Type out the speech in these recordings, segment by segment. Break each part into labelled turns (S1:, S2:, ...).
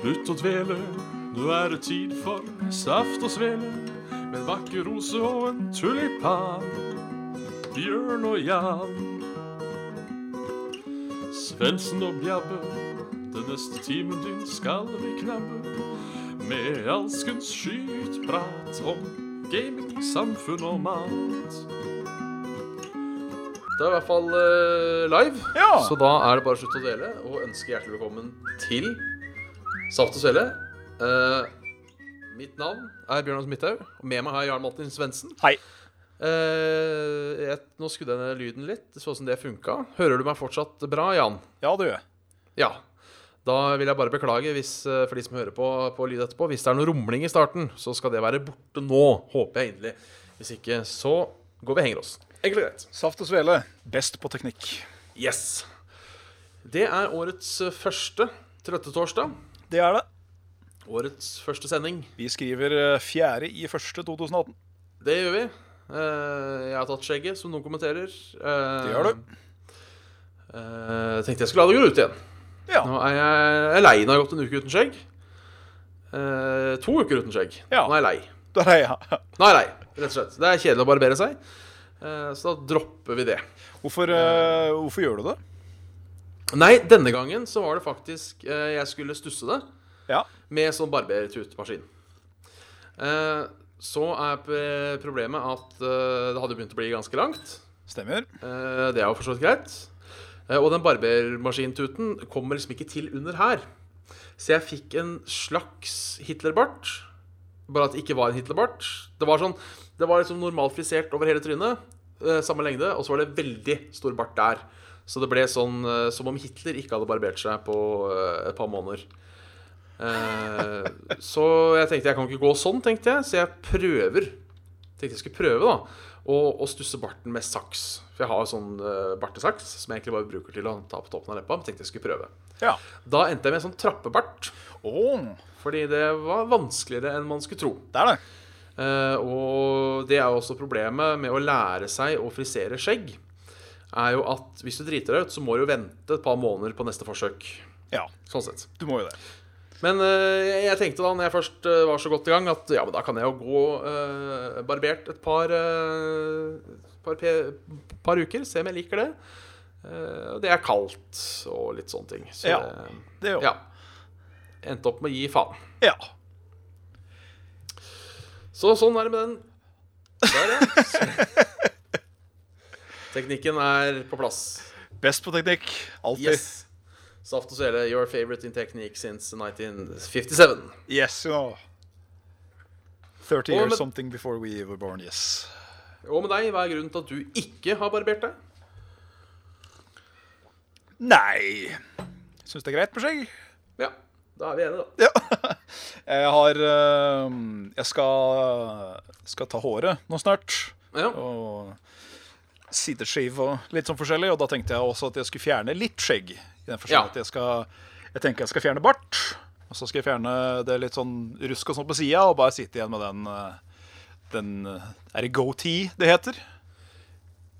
S1: Slutt å dvele, nå er det tid for saft og svele. Med en vakker rose og en tulipan. Bjørn og Jan. Svendsen og Bjabbe, den neste timen din skal vi knabbe. Med alskens skytprat om gaming, samfunn og mat. Det er i hvert fall eh, live,
S2: Ja.
S1: så da er det bare slutt å dele. Og ønske hjertelig velkommen til Saft og Svele. Eh, mitt navn er Bjørnar Midthaug, og med meg har jeg Jarl Martin Svendsen.
S2: Hei.
S1: Eh, jeg, nå skrudde jeg ned lyden litt. Det så ut som det funka. Hører du meg fortsatt bra, Jan?
S2: Ja, du.
S1: Ja. Da vil jeg bare beklage hvis, eh, for de som hører på, på lyd etterpå. Hvis det er noe rumling i starten, så skal det være borte nå. Håper jeg inderlig. Hvis ikke, så går vi og henger oss. Enkelt og greit.
S2: Saft og svele. Best på teknikk.
S1: Yes. Det er årets eh, første Trøttetorsdag.
S2: Det er det.
S1: Årets første sending.
S2: Vi skriver eh, fjerde i første 2018.
S1: Det gjør vi. Eh, jeg har tatt skjegget, som noen kommenterer.
S2: Det
S1: Uh,
S2: gjør du.
S1: eh, tenkte jeg skulle la det gå ut igjen.
S2: Ja.
S1: Nå er jeg, jeg er lei når jeg har gått en uke uten skjegg. Eh, to uker uten skjegg.
S2: Ja.
S1: Nå er jeg lei.
S2: Der er jeg.
S1: Nei, nei, rett og slett. Det er kjedelig å barbere seg. Eh, Så da dropper vi det.
S2: Hvorfor, eh, hvorfor gjør du det?
S1: Nei, denne gangen så var det faktisk eh, Jeg skulle stusse det
S2: Ja.
S1: med sånn barbertutemaskin. Eh, Så er p- problemet at eh, det hadde begynt å bli ganske langt.
S2: Stemmer.
S1: Eh, Det er jo for så vidt greit. Eh, Og den barbermaskintuten kommer liksom ikke til under her. Så jeg fikk en slags Hitlerbart. Bare at det ikke var en Hitlerbart. Det var sånn Det var liksom normalt frisert over hele trynet. eh, Samme lengde. Og så var det veldig stor bart der. Så det ble sånn eh, som om Hitler ikke hadde barbert seg på eh, et par måneder. Eh, Så jeg tenkte jeg kan ikke gå sånn, tenkte jeg. Så jeg prøver. Tenkte jeg skulle prøve, da. Å, å stusse barten med saks. For jeg har jo sånn eh, bartesaks som jeg egentlig bare bruker til å ta på toppen av leppa. Men tenkte jeg skulle prøve.
S2: Ja.
S1: Da endte jeg med en sånn trappebart.
S2: Åh,
S1: Fordi det var vanskeligere enn man skulle tro.
S2: det er det.
S1: Eh, og det er jo også problemet med å lære seg å frisere skjegg. Er jo at hvis du driter deg ut, så må du jo vente et par måneder på neste forsøk.
S2: Ja,
S1: Sånn sett.
S2: du må jo det.
S1: Men eh, jeg- jeg tenkte da når jeg først eh, var så godt i gang, at ja, men da kan jeg jo gå eh, barbert et par, eh, par, pe par uker. Se om jeg liker det. Eh, det er kaldt og litt sånne ting. Så
S2: Ja.
S1: det-
S2: Det gjør
S1: ja. Endte opp med å gi faen.
S2: ja.
S1: Så sånn er det med den. Der, ja. Så. Teknikken er på plass.
S2: Best på teknikk. Alltid. Yes.
S1: Yes. Saft og svele, your favorite in technique since 1957.
S2: you know. 30
S1: Og
S2: years
S1: med-
S2: something before we were born, yes.
S1: Og med deg, hva er grunnen til at du ikke har barbert deg?
S2: Nei. Syns det er greit med skjegg.
S1: Ja, da er vi enige, da.
S2: Ja. Jeg har eh, Jeg skal, skal ta håret nå snart.
S1: Ja.
S2: Og sideskeiv og litt sånn forskjellig. Og da tenkte jeg også at jeg skulle fjerne litt skjegg. I den
S1: Ja.
S2: forstand at jeg, skal, jeg tenker jeg skal fjerne bart. Og så skal jeg fjerne det litt sånn rusk og sånn på sida, og bare sitte igjen med den, eh, den eh, Er det goatee det heter?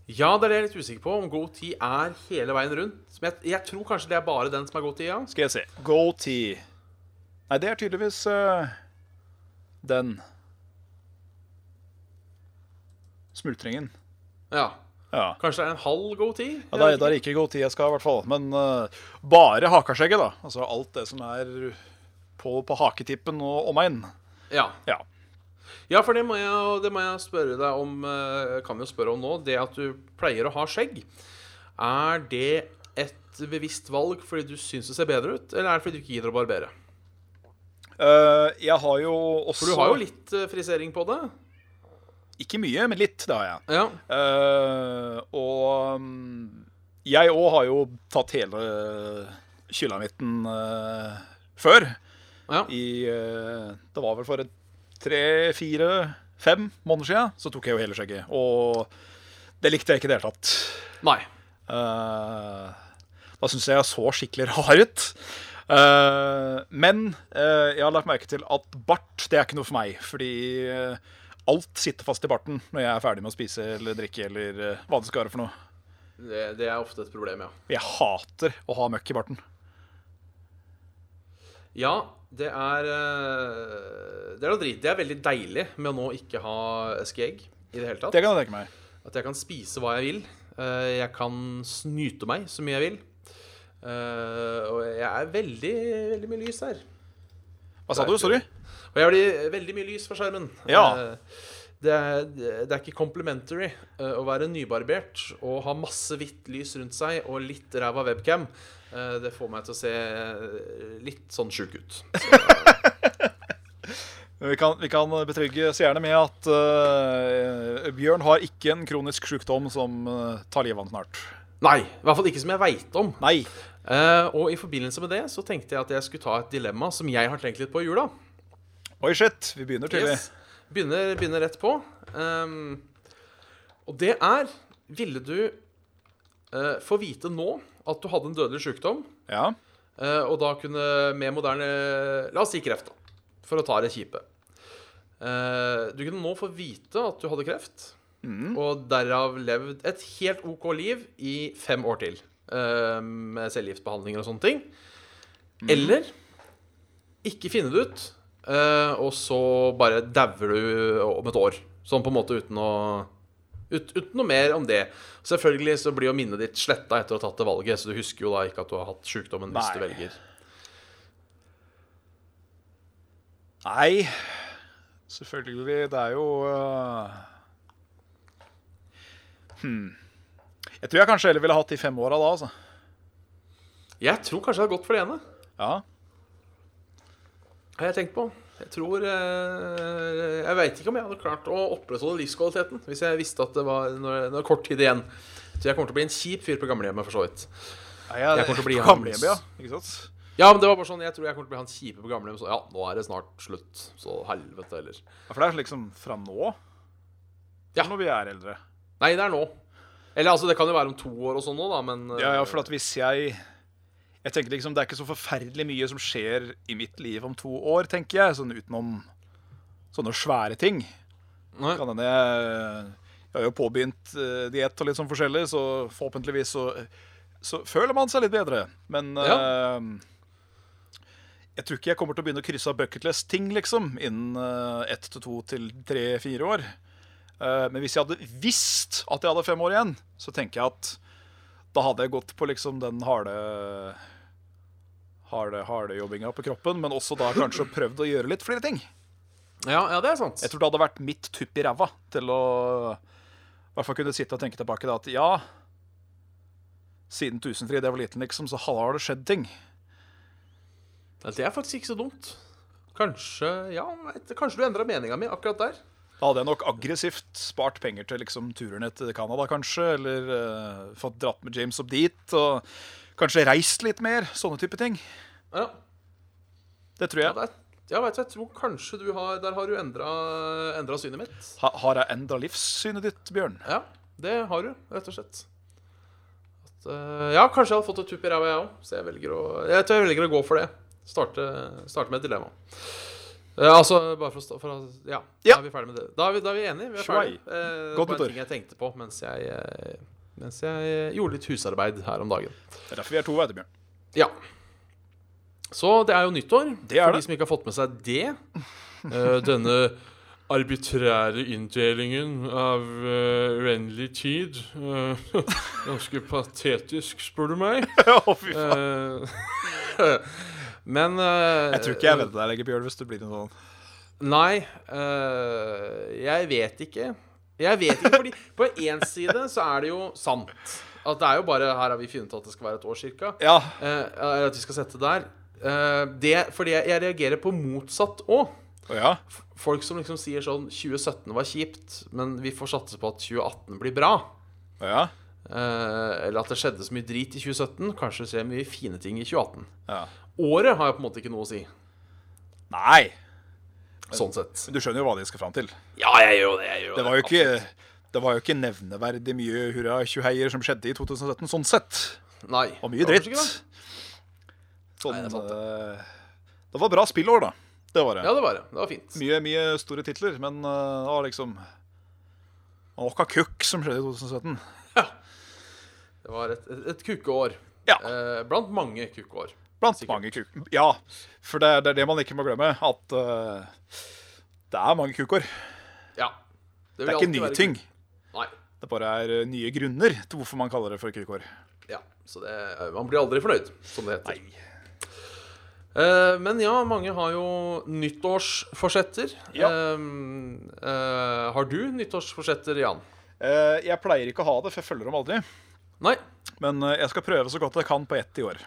S1: ja, det er det jeg er litt usikker på, om god tid er hele veien rundt. Men jeg, jeg tror kanskje det er bare den som er god tid, ja.
S2: Skal jeg se. Goatee. Nei, det er tydeligvis eh, den smultringen.
S1: ja.
S2: Ja.
S1: Kanskje det er en halv god tid?
S2: Ja, da, da er det ikke god tid jeg skal, i hvert fall. Men eh, bare hakaskjegget, da. Altså alt det som er på, på haketippen og omegn.
S1: Ja.
S2: Ja.
S1: ja, for det må, jeg, det må jeg spørre deg om eh, Kan vi jo spørre om nå. Det at du pleier å ha skjegg, er det et bevisst valg fordi du syns det ser bedre ut, eller er det fordi du ikke gidder å barbere?
S2: Eh, jeg har jo også
S1: For du har jo litt eh, frisering på det.
S2: Ikke mye, men litt, det har jeg.
S1: Ja.
S2: Eh, og mm, jeg òg har jo tatt hele kyllamitten eh, før.
S1: ja.
S2: I eh, Det var vel for et tre, fire, fem måneder sia, så tok jeg jo hele skjegget. Og det likte jeg ikke i det hele tatt.
S1: Nei.
S2: Eh, da syns jeg jeg så skikkelig rar ut. Eh, men eh, jeg har lagt merke til at bart det er ikke noe for meg. Fordi eh, alt sitter fast i barten når jeg er ferdig med å spise eller drikke. eller eh, hva det skal være for noe
S1: Det, det er ofte et problem, ja.
S2: Jeg hater å ha møkk i barten.
S1: Ja, Det er eh, Det er noe drit. Det er veldig deilig med å nå ikke ha skjegg i det hele tatt.
S2: Det kan jeg tenke meg.
S1: At jeg kan spise hva jeg vil. Eh, Jeg kan snyte meg så mye jeg vil. Eh, Og jeg er veldig, veldig mye lys her.
S2: Hva sa du? Sorry?
S1: Og jeg blir veldig mye lys fra skjermen.
S2: Ja.
S1: Eh, Det er, det er ikke complimentary eh, å være nybarbert og ha masse hvitt lys rundt seg og litt ræva webcam. Eh, Det får meg til å se eh, litt sånn sjuk ut.
S2: Vi kan, vi kan betrygge seerne med at eh, Bjørn har ikke en kronisk sykdom som eh, tar livet av ham snart.
S1: Nei, i hvert fall ikke som jeg veit om.
S2: Nei.
S1: Eh, og i forbindelse med det så tenkte jeg at jeg skulle ta et dilemma som jeg har tenkt litt på i jula.
S2: Oi, shit. Vi begynner tidlig.
S1: Yes. Begynner, begynner rett på. Ehm, og det er Ville du eh, få vite nå at du hadde en dødelig sykdom,
S2: Ja.
S1: eh, og da kunne med moderne La oss si kreft, da, for å ta det kjipe. Eh, du kunne nå få vite at du hadde kreft,
S2: Mm.
S1: og derav levd et helt OK liv i fem år til. eh, med cellegiftbehandlinger og sånne ting. Eller ikke finne det ut, eh, og så bare dauer du om et år. Sånn på en måte uten å ut, Uten noe mer om det. Selvfølgelig så blir jo minnet ditt sletta etter å ha tatt det valget, så du husker jo da ikke at du har hatt sykdommen hvis du
S2: Nei.
S1: velger.
S2: Nei. Selvfølgelig. Det er jo eh, Hm. Jeg tror jeg kanskje heller ville hatt de fem åra da, altså.
S1: Jeg tror kanskje det har gått for det ene.
S2: Ja.
S1: Har jeg tenkt på. Jeg tror eh, Jeg veit ikke om jeg hadde klart å opprettholde livskvaliteten hvis jeg visste at det var når, når kort tid igjen. Så jeg kommer til å bli en kjip fyr på gamlehjemmet, for så vidt.
S2: Nei,
S1: Jeg kommer til å bli
S2: gamlehjem,
S1: Hans.
S2: ja. Ikke sant?
S1: Ja, men det var bare sånn, jeg tror jeg kommer til å bli han kjipe på gamlehjem. Så ja, nå er det snart slutt. Så helvete heller.
S2: Ja, For det er liksom fra nå?
S1: Ja.
S2: Ja. Når vi er eldre.
S1: Nei, det er nå. Eller altså, det kan jo være om to år og sånn nå, da, men eh,
S2: Ja, ja, for at hvis jeg Jeg tenker liksom, Det er ikke så forferdelig mye som skjer i mitt liv om to år, tenker jeg. Sånn utenom sånne svære ting.
S1: nei,
S2: Kan hende jeg Jeg har jo påbegynt uh, diett og litt sånn forskjellig, så forhåpentligvis så, så føler man seg litt bedre. Men
S1: Ja.
S2: eh, jeg tror ikke jeg kommer til å begynne å krysse av bucketless-ting liksom, innen eh, ett til to til tre, fire år. Eh, men hvis jeg hadde visst at jeg hadde fem år igjen, så tenker jeg at da hadde jeg gått på liksom den harde harde, harde jobbinga på kroppen, men også da kanskje prøvd å gjøre litt flere ting.
S1: ja, ja, det er sant.
S2: Jeg tror det hadde vært mitt tupp i ræva til å i hvert fall kunne sitte og tenke tilbake da, at ja, siden Tusenfryd jeg var liten, liksom, så har det skjedd ting.
S1: Ja, Det er faktisk ikke så dumt. Kanskje ja, vet du, kanskje du endra meninga mi akkurat der.
S2: Da hadde jeg nok aggressivt spart penger til liksom, turen til Canada, kanskje, eller eh, fått dratt med James opp dit, og kanskje reist litt mer, sånne type ting.
S1: Ja,
S2: Det tror
S1: ja,
S2: jeg.
S1: det er, ja vet du, jeg tror kanskje du har Der har du endra endra synet mitt.
S2: Ha, har jeg enda livssynet ditt, Bjørn?
S1: Ja, det har du, rett og slett. At, eh, ja, kanskje jeg hadde fått et tupp i ræva, jeg òg. Så jeg velger, å, jeg, tror jeg velger å gå for det. Starte, starte med et dilemma. Eh, altså, bare for å, sta- for å ja,
S2: Ja.
S1: da er vi ferdig med det. Da er vi, da er vi enige. Vi er
S2: Svei.
S1: ferdig. Eh,
S2: Godt
S1: det var
S2: nyttår.
S1: en ting jeg tenkte på mens jeg, eh, mens jeg eh, gjorde litt husarbeid her om dagen.
S2: Det er derfor vi er to, vet du, Bjørn.
S1: Ja. Så det er jo nyttår.
S2: Det er
S1: for
S2: det.
S1: de som ikke har fått med seg det. Eh, denne arbitrære inndelingen av eh, uendelig tid. eh, ganske patetisk, spør du meg.
S2: Å, fy faen.
S1: Eh, men eh,
S2: Jeg tror ikke jeg vedder deg lenger, Bjørn, hvis du blir en sånn.
S1: Nei, eh, jeg vet ikke. Jeg vet ikke, fordi på én side så er det jo sant. At det er jo bare Her har vi funnet at det skal være et år, cirka.
S2: Ja,
S1: Eh, Eller at vi skal sette der. Eh, det, fordi jeg, jeg reagerer på motsatt òg.
S2: Å, ja.
S1: Folk som liksom sier sånn 2017 var kjipt, men vi får satse på at 2018 blir bra.
S2: Å, ja.
S1: Eh, eller at det skjedde så mye drit i 2017. Kanskje det skjer mye fine ting i 2018.
S2: ja.
S1: Året har jo på en måte ikke noe å si.
S2: Nei,
S1: Sånn sett.
S2: men du skjønner jo hva de skal fram til.
S1: Ja, jeg gjør jo det. Jeg gjør jo
S2: Det var jo ikke, det var jo ikke nevneverdig mye hurra-tjuheier som skjedde i 2017, sånn sett.
S1: Nei.
S2: Og mye
S1: Det var kanskje
S2: dritt.
S1: ikke det.
S2: Sånn,
S1: Nei, det er sant,
S2: eh, det var bra spillår, da. Det var det.
S1: Ja, det var det. Det var fint.
S2: Mye, mye store titler, men eh, det var liksom det var Nok av kukk som skjedde i 2017.
S1: Det var et, et, et kukkeår.
S2: Ja.
S1: Eh, blant mange kukkeår.
S2: Blant mange kuker. Ja, for det, er- det er det man ikke må glemme. At eh, det er mange kukår.
S1: Ja.
S2: Det er ikke nye ting.
S1: Nei.
S2: Det bare er eh, nye grunner til hvorfor man kaller det for kukår.
S1: Ja, så det, Man blir aldri fornøyd, som det heter. Eh, men ja, mange har jo nyttårsforsetter.
S2: Ja.
S1: Eh, eh, har du nyttårsforsetter, Jan?
S2: Eh, jeg pleier ikke å ha det, for jeg følger dem aldri.
S1: Nei?
S2: Men eh, jeg skal prøve så godt jeg kan på ett i år.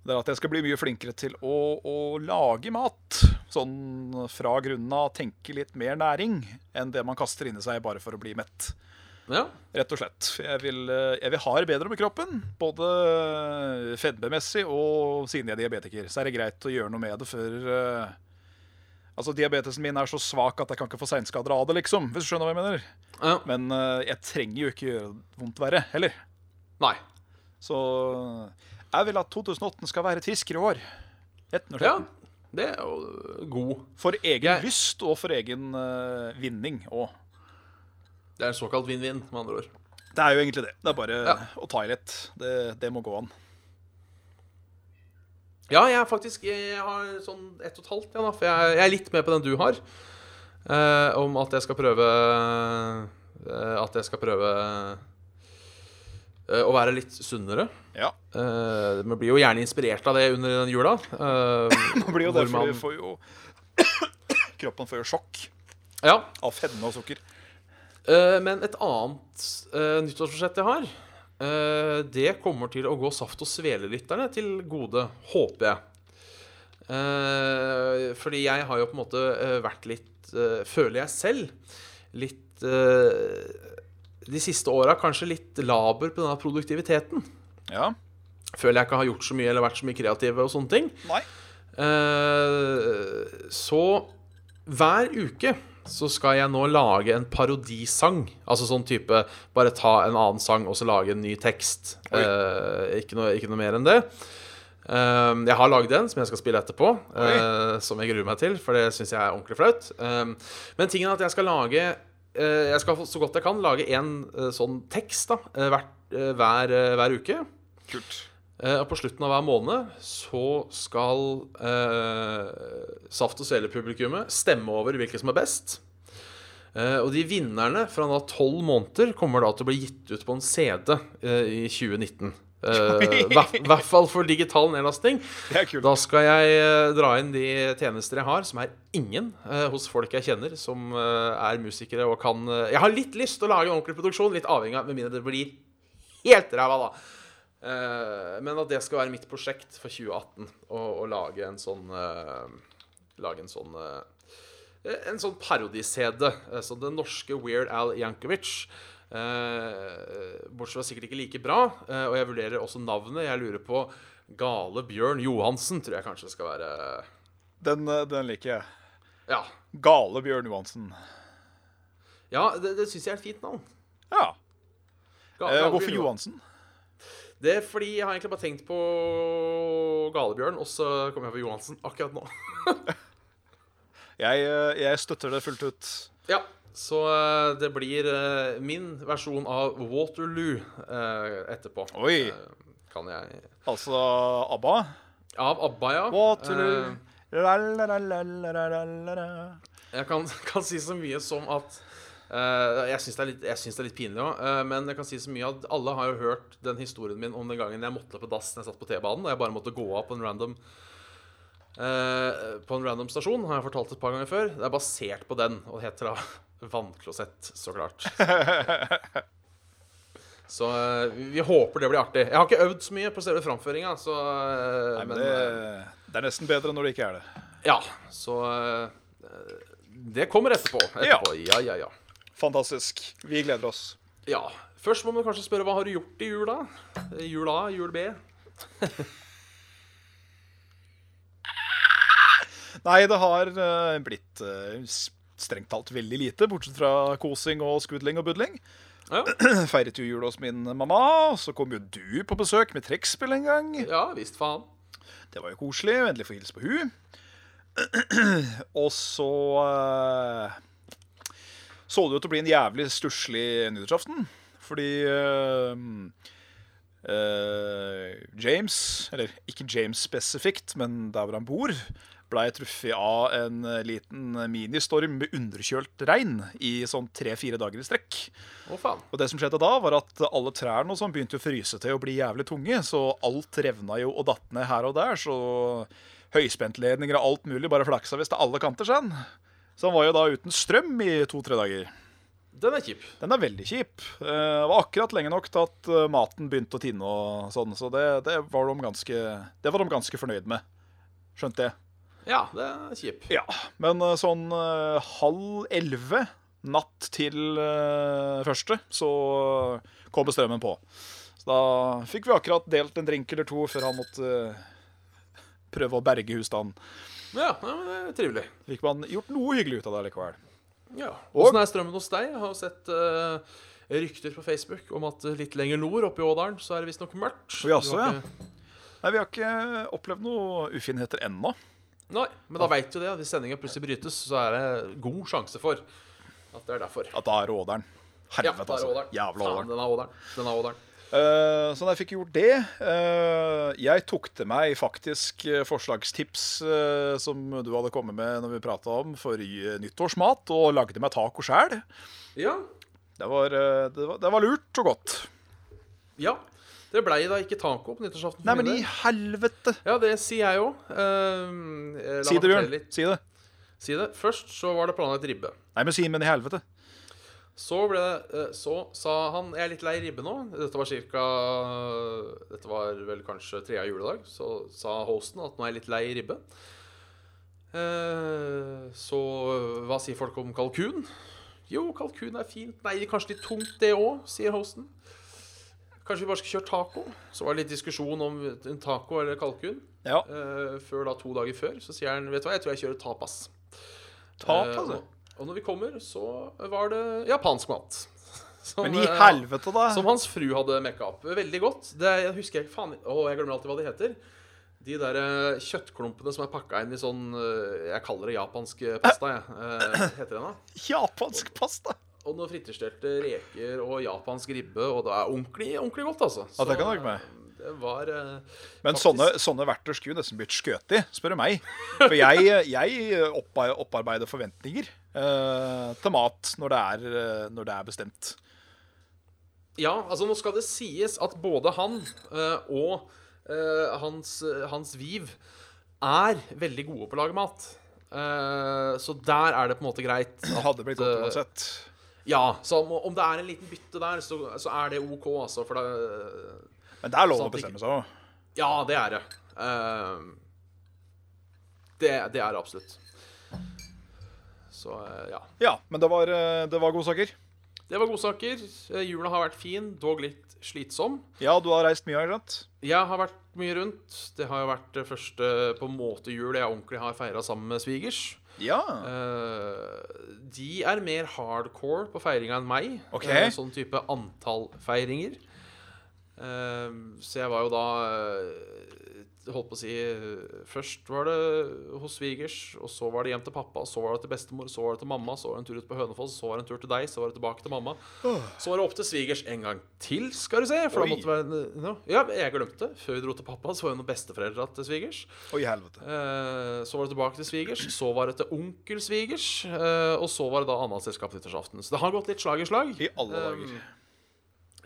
S2: Det er at jeg skal bli mye flinkere til å, å lage mat. Sånn fra grunnen av tenke litt mer næring enn det man kaster inni seg bare for å bli mett.
S1: Ja.
S2: Rett og slett. Jeg vil, eh, jeg vil ha det bedre med kroppen, både fedmemessig og siden jeg er diabetiker. Så er det greit å gjøre noe med det før eh, Altså, diabetesen min er så svak at jeg kan ikke få seinskader av det, liksom. Hvis du skjønner hva jeg mener.
S1: Ja.
S2: Men eh, jeg trenger jo ikke gjøre det vondt verre, heller.
S1: Nei.
S2: Så jeg vil at 2018 skal være et friskere år. Rett og
S1: Ja,
S2: slett.
S1: det er jo god.
S2: For egen
S1: Jeg-
S2: lyst og for egen eh, vinning òg.
S1: Det er en såkalt vinn-vinn, med andre ord.
S2: Det er jo egentlig det. Det er bare
S1: Ja.
S2: å ta i litt. Det, det må gå an.
S1: Ja, jeg er faktisk Jeg har sånn ett og et halvt igjen, da. For jeg, jeg er litt med på den du har. eh, om at jeg skal prøve eh, At jeg skal prøve eh, å være litt sunnere.
S2: Ja.
S1: Eh, man blir jo gjerne inspirert av det under den jula. Eh,
S2: Man blir jo
S1: Hvor
S2: det, for
S1: man-
S2: du får jo Kroppen får jo sjokk
S1: ja.
S2: av fedme og sukker.
S1: Eh, men et annet eh, nyttårsforsett jeg har, eh, det kommer til å gå saft- og svelelytterne til gode, håper jeg. Eh, fordi jeg har jo på en måte eh, vært litt eh, Føler jeg selv litt eh, De siste åra kanskje litt laber på denne produktiviteten.
S2: Ja.
S1: Føler jeg ikke har gjort så mye eller vært så mye kreativ og sånne ting.
S2: Nei.
S1: Eh, så hver uke så skal jeg nå lage en parodisang. Altså sånn type bare ta en annen sang og så lage en ny tekst.
S2: Oi.
S1: Eh, ikke, noe, ikke noe mer enn det. Um, jeg har lagd en som jeg skal spille etterpå, eh, som jeg gruer meg til, for det syns jeg er ordentlig flaut. Um, men tingen er at jeg skal lage eh, Jeg skal så godt jeg kan lage en eh, sånn tekst da, eh, hvert, eh, hver, eh, hver uke.
S2: Kult.
S1: Eh, Og på slutten av hver måned så skal eh, Saft og Sele-publikummet stemme over hvilke som er best. Eh, og de vinnerne fra da tolv måneder kommer da til å bli gitt ut på en CD eh, i 2019. I hvert fall for digital nedlasting.
S2: Det er kult.
S1: Da skal jeg eh, dra inn de tjenester jeg har, som er ingen eh, hos folk jeg kjenner, som eh, er musikere og kan eh, Jeg har litt lyst til å lage en ordentlig produksjon, litt avhengig av, med mindre det blir helt ræva, da. Eh, men at det skal være mitt prosjekt for 2018, å, å lage en sånn eh, Lage en sånn eh, en sånn parodisede eh, som den norske Weird Al Jankovic. Eh, bortsett fra sikkert ikke like bra. Eh, og jeg vurderer også navnet. Jeg lurer på Gale Bjørn Johansen, tror jeg kanskje skal være
S2: Den, eh, den liker jeg.
S1: Ja.
S2: Gale Bjørn Johansen.
S1: Ja, det, det syns jeg er et fint navn.
S2: Ja.
S1: Ga-
S2: Eh,
S1: Gale
S2: hvorfor
S1: Bjørn Johan-
S2: Johansen?
S1: Det er fordi jeg har egentlig bare tenkt på Galebjørn, og så kom jeg på Johansen akkurat nå.
S2: Jeg, eh, jeg støtter det fullt ut.
S1: Ja, så eh, det blir eh, min versjon av Waterloo eh, etterpå.
S2: Oi.
S1: Eh, Kan jeg
S2: Altså ABBA.
S1: Av ABBA, ja.
S2: Waterloo.
S1: Eh,
S2: Lalalalalalalalala.
S1: Jeg kan, kan si så mye som at eh, Jeg syns det, er litt- jeg syns det er litt pinlig òg, men jeg kan si så mye at alle har jo hørt den historien min om den gangen jeg måtte på dass når jeg satt på T-banen, og jeg bare måtte gå av på en random eh, På en random stasjon. Har jeg fortalt et par ganger før. Det er basert på den, og det heter da vannklosett, så klart. Så eh, vi- vi håper det blir artig. Jeg har ikke øvd så mye på selve framføringa, så eh,
S2: Nei, men
S1: men,
S2: det,
S1: eh,
S2: det er nesten bedre når det ikke er det.
S1: Ja, så eh, Det kommer etterpå. etterpå. Ja, ja, ja.
S2: Fantastisk. Vi gleder oss.
S1: Ja. Først må man kanskje spørre hva har du gjort i jula? Eh, Jul A, jul B?
S2: Nei, det har eh, blitt eh, s- strengt talt veldig lite, bortsett fra kosing og skudling og budling.
S1: Ja,
S2: Feiret jo jul hos min mamma, og så kom jo du på besøk med trekkspill en gang.
S1: ja visst faen.
S2: Det var jo koselig. og Endelig få hilse på hun. og så eh, så det ut til å bli en jævlig stusslig nyttårsaften. Fordi eh, eh, James, eller ikke James spesifikt, men der hvor han bor, blei truffet av en eh, liten ministorm med underkjølt regn i sånn tre-fire dager i strekk.
S1: Å, faen.
S2: Og det som skjedde da, var at alle trærne og sånn begynte å fryse til og bli jævlig tunge, så alt revna jo og datt ned her og der, så høyspentledninger og alt mulig bare flaksa visst til alle kanter, sånn. Så han var jo da uten strøm i to-tre dager.
S1: Den er kjip.
S2: Den er veldig kjip. Eh, Det var akkurat lenge nok til at eh, maten begynte å tinne og sånn, så det, det, var de ganske, det var de ganske fornøyd med. Skjønt det.
S1: Ja, det er kjip.
S2: Ja, men eh, sånn eh, halv elleve natt til eh, første, så kom strømmen på. Så da fikk vi akkurat delt en drink eller to før han måtte eh, prøve å berge husstanden.
S1: Ja, ja, men det er trivelig.
S2: Fikk man gjort noe hyggelig ut av det likevel.
S1: Ja.
S2: Og-
S1: Åssen er strømmen hos deg? Jeg har jo sett eh, rykter på Facebook om at eh, litt lenger nord, oppe i Ådalen, så er det visstnok mørkt.
S2: Å, jaså,
S1: Du har
S2: ja.
S1: ikke-
S2: Nei, vi har ikke eh, opplevd noe ufinheter ennå.
S1: Nei, men da veit du det. at Hvis sendinga plutselig brytes, så er det god sjanse for at det er derfor.
S2: At da er det åderen.
S1: Ja,
S2: Helvete,
S1: det er
S2: altså.
S1: Ådalen.
S2: Jævla
S1: Faen,
S2: åderen.
S1: Den er Ådalen. Den er Ådalen.
S2: Eh, så da jeg fikk gjort det eh, Jeg tok til meg faktisk eh, forslagstips eh, som du hadde kommet med når vi prata om forrige nyttårsmat, og lagde meg taco sjæl.
S1: Ja.
S2: Det, var, eh, det, var- det var lurt og godt.
S1: ja. Det blei da ikke taco på nyttårsaften. for
S2: Nei,
S1: min
S2: men i
S1: del.
S2: helvete!
S1: Ja, det sier jeg òg. Uh,
S2: Si det, Bjørn. Si det.
S1: Si det. Først så var det planlagt ribbe.
S2: Nei, men si men i helvete.
S1: Så ble det eh, Så sa han Jeg er litt lei ribbe nå. Dette var cirka Dette var vel kanskje tredje juledag. Så sa hosten at nå er jeg litt lei ribbe. Eh, Så hva sier folk om kalkun? Jo, kalkun er fint. Nei, kanskje litt tungt det òg, sier hosten. Kanskje vi bare skal kjøre taco? Så var det litt diskusjon om en taco eller kalkun.
S2: Ja,
S1: Eh, Før da to dager før så sier han Vet du hva, jeg tror jeg kjører tapas.
S2: tap,
S1: Eh,
S2: altså.
S1: Og, og når vi kommer, så var det japansk mat. Som,
S2: Men i
S1: eh,
S2: helvete, da.
S1: Som hans fru hadde mekka opp. Veldig godt. Det jeg husker jeg ikke faen Å, jeg glemmer alltid hva de heter. De der eh, kjøttklumpene som er pakka inn i sånn eh, Jeg kaller det japansk pasta, jeg. Eh, heter det da?
S2: Japansk pasta.
S1: Og noen frityrstelte reker og japansk ribbe, og det er ordentlig, ordentlig godt, altså.
S2: Ja, det kan
S1: Så,
S2: jeg merke meg.
S1: eh, Det var eh,
S2: Men
S1: faktisk-
S2: sånne, sånne verktøy skulle jo nesten blitt skjøt i, spør du meg. For jeg, jeg oppa- opparbeider forventninger eh, til mat når det, er, eh, når det er bestemt.
S1: Ja, altså nå skal det sies at både han eh, og eh, hans, hans Viv er veldig gode på å lage mat. Eh, så der er det på en måte greit.
S2: Det hadde blitt godt uansett.
S1: Ja, så om, om det er en liten bytte der, så, så er det OK, altså. For det
S2: Men det er lov
S1: sant,
S2: å bestemme seg òg.
S1: Ja, det er det. Eh, det, det er det absolutt. Så eh, ja.
S2: Ja, men det var, eh, det var gode saker.
S1: Det var godsaker. Eh, Jula har vært fin, dog litt slitsom.
S2: Ja, du har reist mye, ikke sant?
S1: Jeg har vært mye rundt. Det har jo vært det første på en måte jul jeg ordentlig har feira sammen med svigers.
S2: Ja.
S1: Eh, de er mer hardcore på feiringa enn meg.
S2: Ok.
S1: Eh, sånn type antallfeiringer. Uh, så jeg var jo da eh, Holdt på å si eh, Først var det hos svigers, og så var det hjem til pappa, så var det til bestemor, så var det til mamma, så var det en tur ut på Hønefoss, så var det en tur til deg, så var det tilbake til mamma. Så var det opp til svigers en gang til, skal du se. For
S2: Oi.
S1: da måtte det være en- no. Ja, jeg glemte. Før vi dro til pappa, så var det noen besteforeldre til svigers.
S2: Oi, helvete.
S1: Eh, Så var det tilbake til svigers, så var det til onkel svigers, eh, og så var det da annet selskap nyttårsaften. Så det har gått litt slag i slag.
S2: I alle
S1: Ehm,
S2: dager.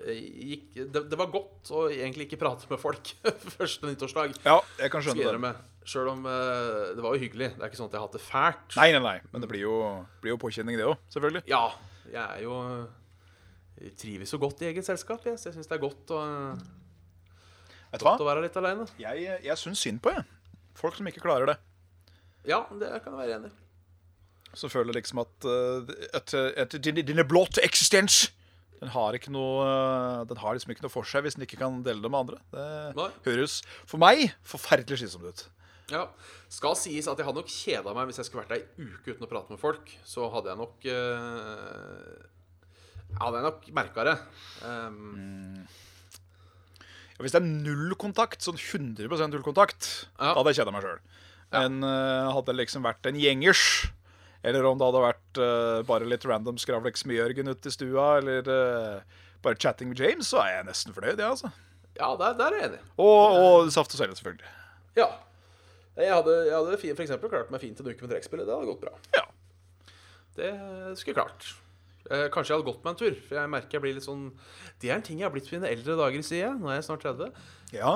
S1: Eh, Gikk, det, det var godt å egentlig ikke prate med folk første nyttårsdag.
S2: Ja, jeg kan
S1: Skal jeg
S2: skjønne det.
S1: innrømme. Selv om eh, det var jo hyggelig. Det er ikke sånn at jeg har hatt det fælt.
S2: Nei, nei, nei. Men det blir jo, blir jo påkjenning, det òg. Selvfølgelig.
S1: Ja, jeg er jo jeg trives jo godt i eget selskap, jeg, så jeg syns det er godt å,
S2: Vet du hva?
S1: å være litt aleine.
S2: Jeg, jeg syns synd på, jeg. Folk som ikke klarer det.
S1: Ja, det kan jeg være enig i.
S2: Så føler jeg liksom at eh, at, at din, din blåte eksistens den har, ikke noe, eh, den har liksom ikke noe for seg hvis den ikke kan dele det med andre. Det
S1: Nei.
S2: høres for meg forferdelig slitsomt ut.
S1: Ja. Skal sies at jeg hadde nok kjeda meg hvis jeg skulle vært der ei uke uten å prate med folk. Så hadde jeg nok eh, Hadde jeg nok merka det. Ehm,
S2: Mm. Og Hvis det er null kontakt, sånn 100 null kontakt,
S1: Ja.
S2: da hadde jeg kjeda meg sjøl. Men eh, hadde det liksom vært en gjengers, eller om det hadde vært eh, bare litt random skravleks med Jørgen ute i stua, eller eh, bare chatting med James, så er jeg nesten fornøyd, jeg, altså.
S1: Ja, der, der er jeg enig.
S2: Og, og saft og svele, selvfølgelig.
S1: Ja. Jeg hadde, jeg hadde fi- for eksempel klart meg fint en uke med trekkspillet. Det hadde gått bra.
S2: Ja.
S1: Det skulle jeg klart. Eh, kanskje jeg hadde gått meg en tur. For jeg merker jeg blir litt sånn Det er en ting jeg har blitt på mine eldre dager, sier jeg. Nå er jeg snart 30.
S2: ja.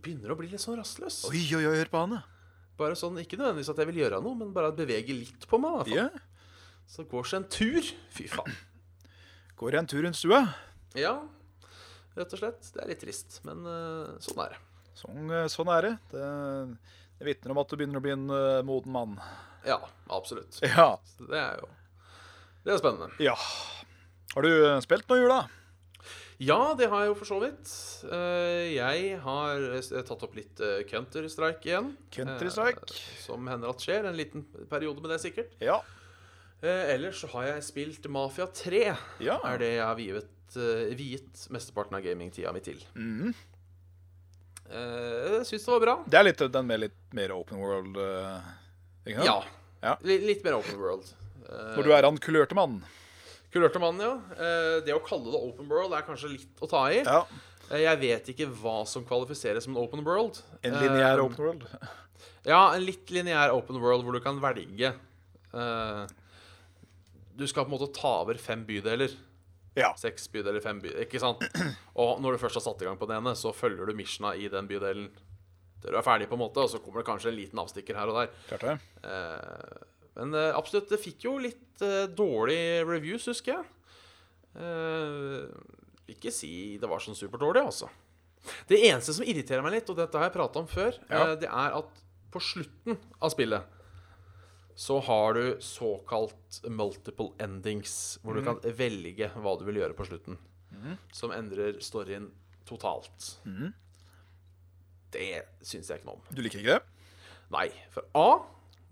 S1: Begynner å bli litt sånn rastløs.
S2: Oi, oi, oi, hør på han, ja.
S1: Bare sånn, Ikke nødvendigvis at jeg vil gjøre noe, men bare at bevege litt på meg. i hvert fall.
S2: Ja.
S1: Så går seg en tur. Fy faen.
S2: Går jeg en tur rundt stua?
S1: Ja, rett og slett. Det er litt trist, men eh, sånn er det.
S2: Sånn, eh, sånn er det. Det, det vitner om at du begynner å bli en eh, moden mann.
S1: Ja, absolutt.
S2: Ja.
S1: Så det er jo Det er spennende.
S2: ja. Har du eh, spilt noe i jula?
S1: Ja, det har jeg jo for så vidt. Eh, jeg har eh, tatt opp litt uh, counterstrike igjen.
S2: Counter-Strike?
S1: Eh, som hender at skjer. En liten periode med det, sikkert.
S2: Ja.
S1: Eh, ellers så har jeg spilt Mafia 3.
S2: ja.
S1: Er det jeg har viet, eh, viet mesteparten av gamingtida mi til.
S2: Mhm.
S1: Uh, Syns det var bra.
S2: Det er litt, den med litt mer open world eh, ikke sant?
S1: Ja.
S2: Ja.
S1: Li- Litt mer open world. Eh,
S2: Når du er han kulørte mannen.
S1: Kulørte mannen, ja. Eh, Det å kalle det open world er kanskje litt å ta i.
S2: Ja.
S1: Eh, Jeg vet ikke hva som kvalifiseres som en open world.
S2: En
S1: Eh,
S2: lineær open world.
S1: Ja, en litt lineær open world hvor du kan velge. Eh, Du skal på en måte ta over fem bydeler.
S2: Ja.
S1: Seks bydeler, fem bydeler, ikke sant? Og når du først har satt i gang på den ene, så følger du missiona i den bydelen til du er ferdig, på en måte, og så kommer det kanskje en liten avstikker her og der.
S2: Klart det.
S1: Eh, Men eh, absolutt, det fikk jo litt eh, dårlig reviews, husker jeg. Eh, vil ikke si det var sånn superdårlig, altså. Det eneste som irriterer meg litt, og dette har jeg prata om før,
S2: Ja.
S1: eh, det er at på slutten av spillet så har du såkalt multiple endings, hvor du kan velge hva du vil gjøre på slutten. Som endrer storyen totalt. Det syns jeg ikke noe om.
S2: Du liker ikke det?
S1: Nei. For A,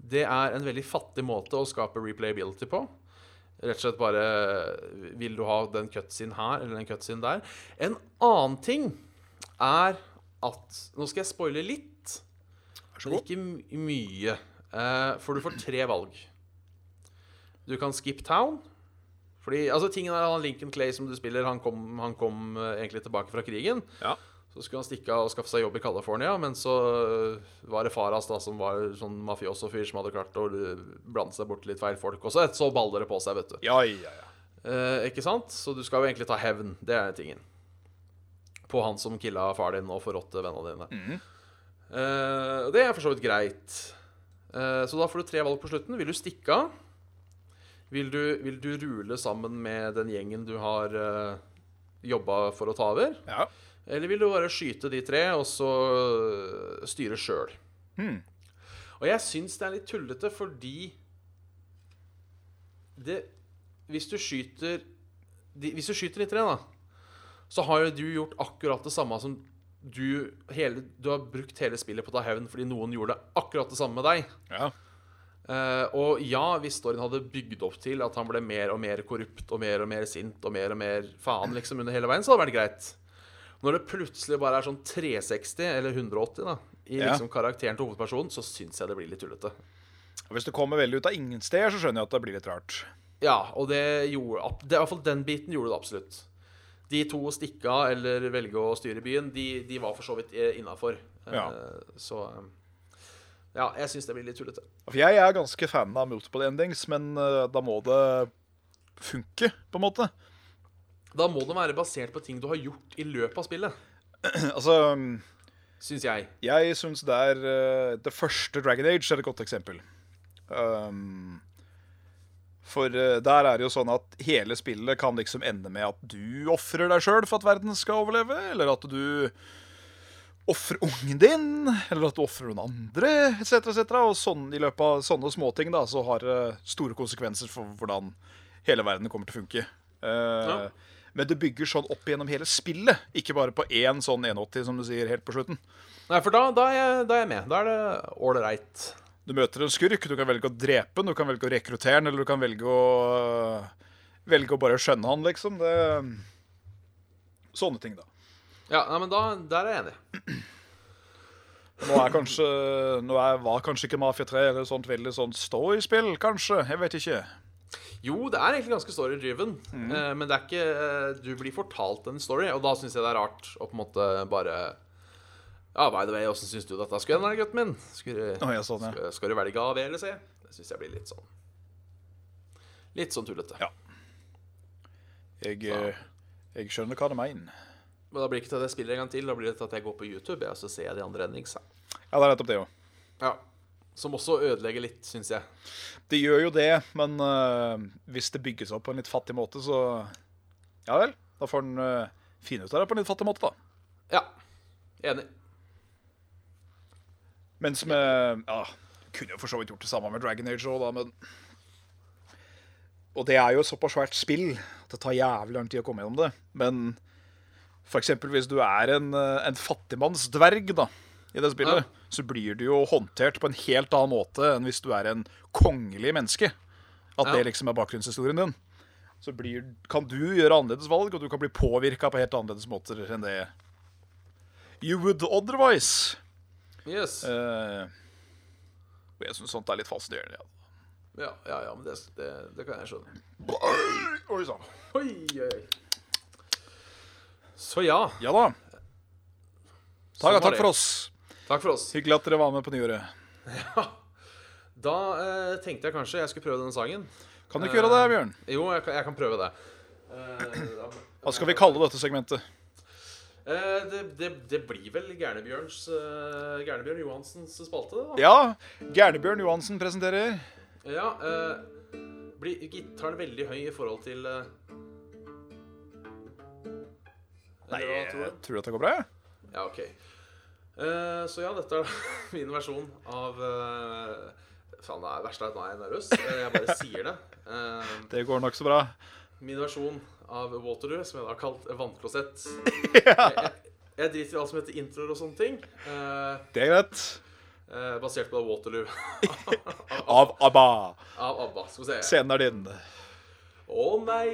S1: det er en veldig fattig måte å skape replayability på. Rett og slett bare Vil du ha den cutscene her eller den cutscene der? En annen ting er at Nå skal jeg spoile litt,
S2: Vær så
S1: men
S2: god.
S1: ikke my- mye. Eh, For du får tre valg. Du kan skip town. Fordi, altså tingen er han Lincoln Clay som du spiller, han kom, han kom eh, egentlig tilbake fra krigen.
S2: Ja.
S1: Så skulle han stikke av og skaffe seg jobb i California, men så øh, var det far hans da, som var sånn mafioso-fyr som hadde klart å øh, blande seg borti litt feil folk også. Så baller det på seg, vet du.
S2: Ja, ja, ja.
S1: Eh, ikke sant? Så du skal jo egentlig ta hevn. Det er tingen. På han som killa far din og forrådte vennene dine. Eh, og det er for så vidt greit. Eh, så da får du tre valg på slutten. Vil du stikke av? Vil du, vil du rule sammen med den gjengen du har uh, jobba for å ta over?
S2: ja.
S1: Eller vil du bare skyte de tre, og så øh, styre sjøl?
S2: Hmm.
S1: Og jeg syns det er litt tullete, fordi det Hvis du skyter de, Hvis du skyter de tre, da, så har jo du gjort akkurat det samme som du hele, Du har brukt hele spillet på å ta hevn fordi noen gjorde akkurat det samme med deg.
S2: ja.
S1: Eh, og ja, hvis storyen hadde bygd opp til at han ble mer og mer korrupt og mer og mer sint og mer og mer faen liksom under hele veien, så hadde det vært greit. Når det plutselig bare er sånn 360 eller 180 da i
S2: Ja.
S1: liksom karakteren til hovedpersonen, så syns jeg det blir litt tullete.
S2: Og Hvis det kommer veldig ut av ingen steder, så skjønner jeg at det blir litt rart.
S1: Ja, og det gjorde ab- det, I hvert fall den biten gjorde det absolutt. De to å stikke av eller velge å styre byen, de, de var for så vidt eh, innafor.
S2: Ja.
S1: Så eh, Ja, jeg syns det blir litt tullete.
S2: For jeg er ganske fan av multiple endings, men eh, da må det funke, på en måte.
S1: Da må det være basert på ting du har gjort i løpet av spillet,
S2: altså,
S1: syns jeg.
S2: jeg syns det er eh, Det første Dragon Age er et godt eksempel. Um, for eh, der er det jo sånn at hele spillet kan liksom ende med at du ofrer deg sjøl for at verden skal overleve, eller at du ofrer ungen din, eller at du ofrer noen andre, etc., etc. Og sånn, i løpet av sånne småting da, så har det store konsekvenser for hvordan hele verden kommer til å funke. Eh,
S1: Ja.
S2: Men det bygger sånn opp gjennom hele spillet, ikke bare på én sånn 180, som du sier, helt på slutten.
S1: Nei, for da, da, er jeg, da er jeg med. Da er det ålreit.
S2: Du møter en skurk, du kan velge å drepe den, du kan velge å rekruttere den, eller du kan velge å Velge å bare skjønne han, liksom. Det, sånne ting, da.
S1: Ja, nei, men da, der er jeg enig.
S2: Nå er kanskje Nå er, var kanskje ikke Mafia 3 eller sånt veldig sånn storyspill, kanskje. Jeg vet ikke.
S1: Jo, det er egentlig ganske story-driven, eh, men det er ikke eh, Du blir fortalt en story, og da syns jeg det er rart å på en måte bare Ja, by the way, åssen syns du dette skulle hen, da, gutten min? Skulle,
S2: Å, ja, sånn, ja.
S1: skal, skal du velge A, B eller C? Det syns jeg blir litt sånn Litt sånn tullete.
S2: Ja. Jeg, eh, jeg skjønner hva du mener.
S1: Men da blir det ikke til at jeg spiller en gang til, da blir det til at jeg går på YouTube, jeg, og så ser jeg de andre endingsa.
S2: Ja, det er nettopp det òg.
S1: Ja. Som også ødelegger litt, syns jeg.
S2: Det gjør jo det, men eh, hvis det bygges opp på en litt fattig måte, så Ja vel. Da får en eh, finne ut av det på en litt fattig måte, da.
S1: Ja. Enig.
S2: Mens med Ja, kunne jo for så vidt gjort det samme med Dragon Age òg, da, men Og det er jo et såpass svært spill at det tar jævlig lang tid å komme gjennom det. Men f.eks. hvis du er en, eh, en fattigmannsdverg, da, i det
S1: Ja.
S2: spillet, så blir du jo håndtert på en helt annen måte enn hvis du er en kongelig menneske.
S1: Ja.
S2: At det liksom er bakgrunnshistorien din. Så blir, kan du gjøre annerledes valg, og du kan bli påvirka på helt annerledes måter enn det you would otherwise.
S1: Yes.
S2: Eh, og jeg syns sånt er litt fascinerende. Ja.
S1: Ja, ja, ja men det, det, det kan jeg skjønne.
S2: Oi sånn. sann.
S1: Oi, oi, oi. Så ja.
S2: Ja da.
S1: Sånn
S2: Takk,
S1: var
S2: takk
S1: det.
S2: for oss.
S1: Takk for oss.
S2: Hyggelig at dere var med på nyåret.
S1: Da eh, tenkte jeg kanskje jeg skulle prøve denne sangen.
S2: Kan du ikke gjøre det, Bjørn?
S1: Jo, jeg kan, jeg kan prøve det. Eh, da-
S2: Hva skal vi kalle dette segmentet?
S1: Eh, det, det, det blir vel Gærnebjørns eh, Gærnebjørn Johansens spalte, det, da.
S2: Ja, Gernebjørn Johansen presenterer.
S1: Ja, eh, blir gitaren veldig høy i forhold til eh,
S2: Nei,
S1: eller hva tror
S2: jeg
S1: du?
S2: tror at det går bra. jeg.
S1: Ja, ok. Eh, så ja, dette er min versjon av eh, Faen, det er verst at nå er jeg nervøs. Eh, Jeg bare sier det. Eh,
S2: Det går nok så bra.
S1: min versjon av Waterloo, som jeg da har kalt vannklosett. Jeg, jeg driter i alt som heter introer og sånne ting. eh,
S2: Det er greit.
S1: eh, basert på da Waterloo
S2: Av ABBA.
S1: av ABBA. Skal vi se.
S2: Scenen er din.
S1: Å nei,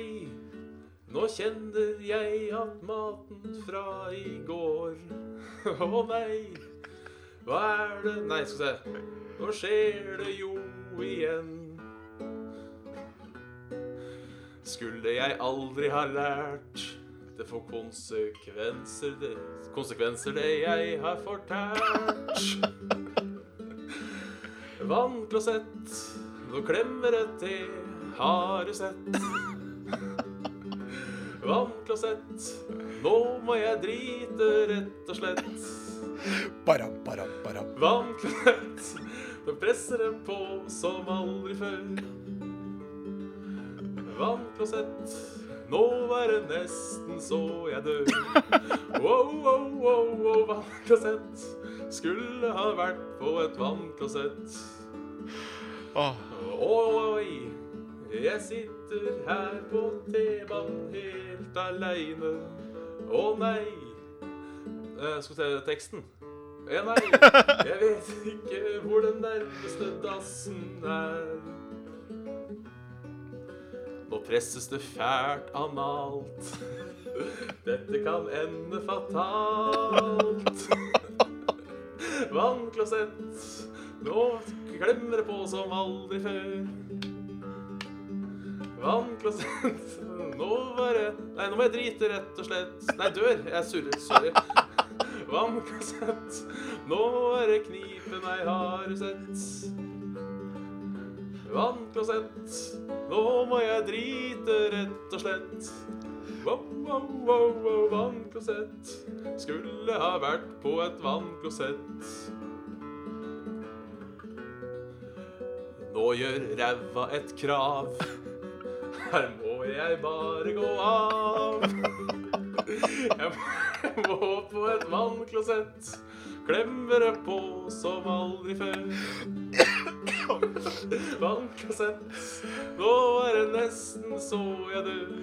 S1: nå kjenner jeg at maten fra i går Å nei, hva er det Nei, skal vi se. Nå skjer det jo igjen. Skulle jeg aldri ha lært Det får konsekvenser, det Konsekvenser det jeg har fortært. Vannklosett, nå klemmer et te, har du sett? Vannklosett, nå må jeg drite, rett og slett.
S2: Baram, baram, baram.
S1: Vannklosett, nå presser det på som aldri før. Vannklosett, nå er det nesten så jeg dør. Wow, wow, wow, wow, vannklosett, skulle ha vært på et vannklosett.
S2: Åh,
S1: Oi, jeg sitter her på T-banen helt aleine. Å nei. Eh, skal vi se teksten. Eh, nei, jeg vet ikke hvor den nærmeste dassen er. Nå presses det fælt analt. Dette kan ende fatalt. Vannklosett, nå klemmer det på som aldri før. Vannklosett, nå var det Nei, nå må jeg drite, rett og slett. Nei, dør. Jeg surrer. Sorry. Vannklosett, nå er det knipen jeg har sett. Vannklosett, nå må jeg drite, rett og slett. Wow, wow, wow, wow, vannklosett. Skulle ha vært på et vannklosett. Nå gjør ræva et krav. Her må jeg bare gå av. Jeg må på et vannklosett. Klemmer det på som aldri før. Vannklosett, nå er det nesten så jeg dør.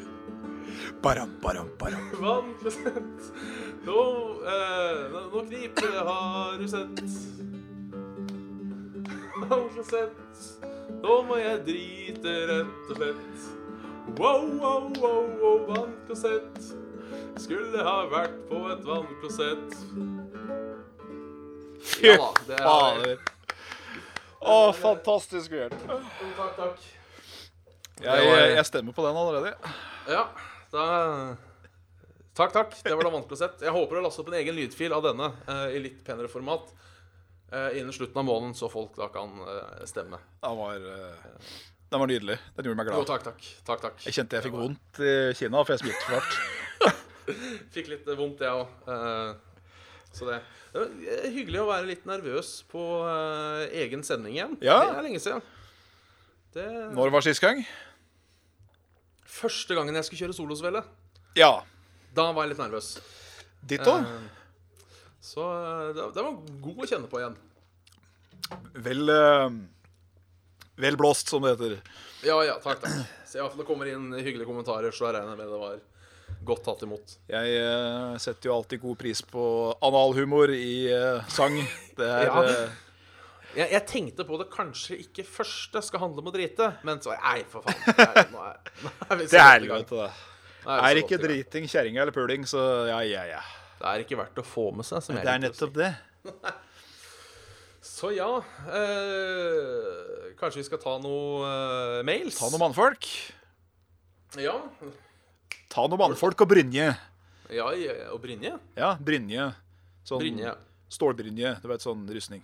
S2: Baram, baram, baram.
S1: Vannklosett. Nå, eh, nå kniper det, har du sett. Vannklosett. Nå må jeg drite, rett og slett. Wow, wow, wow, wow, vannklosett. Skulle ha vært på et vannklosett.
S2: Fy
S1: Ja da, det er
S2: fader. Å, fantastisk, Bjørn.
S1: Takk, takk.
S2: Jeg, jeg, jeg stemmer på den allerede.
S1: Ja, da Takk, takk. Det var da vanskelig å sett. Jeg håper du har lastet opp en egen lydfil av denne eh, i litt penere format eh, innen slutten av måneden, så folk da kan eh, stemme.
S2: Den var, eh, den var nydelig. Den gjorde meg
S1: Jo,
S2: glad.
S1: takk, takk. takk, takk.
S2: Jeg kjente jeg fikk vondt i Kina, for jeg smilte for hardt.
S1: Fikk litt eh, vondt, jeg òg. Så det. det var eh, hyggelig å være litt nervøs på eh, egen sending igjen.
S2: Ja.
S1: Det er lenge siden. Det
S2: Når var sist gang?
S1: Første gangen jeg skulle kjøre solosvelle,
S2: Ja.
S1: da var jeg litt nervøs.
S2: Ditto.
S1: Eh, Så eh, det det var god å kjenne på igjen.
S2: Vel eh, Vel blåst, som det heter.
S1: Ja, ja, takk, takk. Så i hvert fall det kommer inn hyggelige kommentarer, så jeg regner med det var godt tatt imot.
S2: Jeg eh, setter jo alltid god pris på analhumor i eh, sang. Det er
S1: Ja.
S2: eh,
S1: Jeg, jeg tenkte på det kanskje ikke første skal handle om å drite, men så Nei, for faen. Nei, nå er, nå er vi så godt i
S2: Det er
S1: gang.
S2: helvete, det.
S1: Nå vi så
S2: Er
S1: godt i
S2: ikke
S1: gang.
S2: driting kjerringa eller puling, så ja, ja, ja.
S1: Det er ikke verdt å få med seg, som jeg
S2: Det er
S1: liker å si.
S2: nettopp det.
S1: Så ja eh, Kanskje vi skal ta noe eh, mails?
S2: Ta noen mannfolk.
S1: Ja.
S2: Ta noen mannfolk og Brynje.
S1: ja. i- Og Brynje?
S2: Ja, Brynje. Sånn
S1: Brynje.
S2: stålbrynje. Du vet, sånn rustning.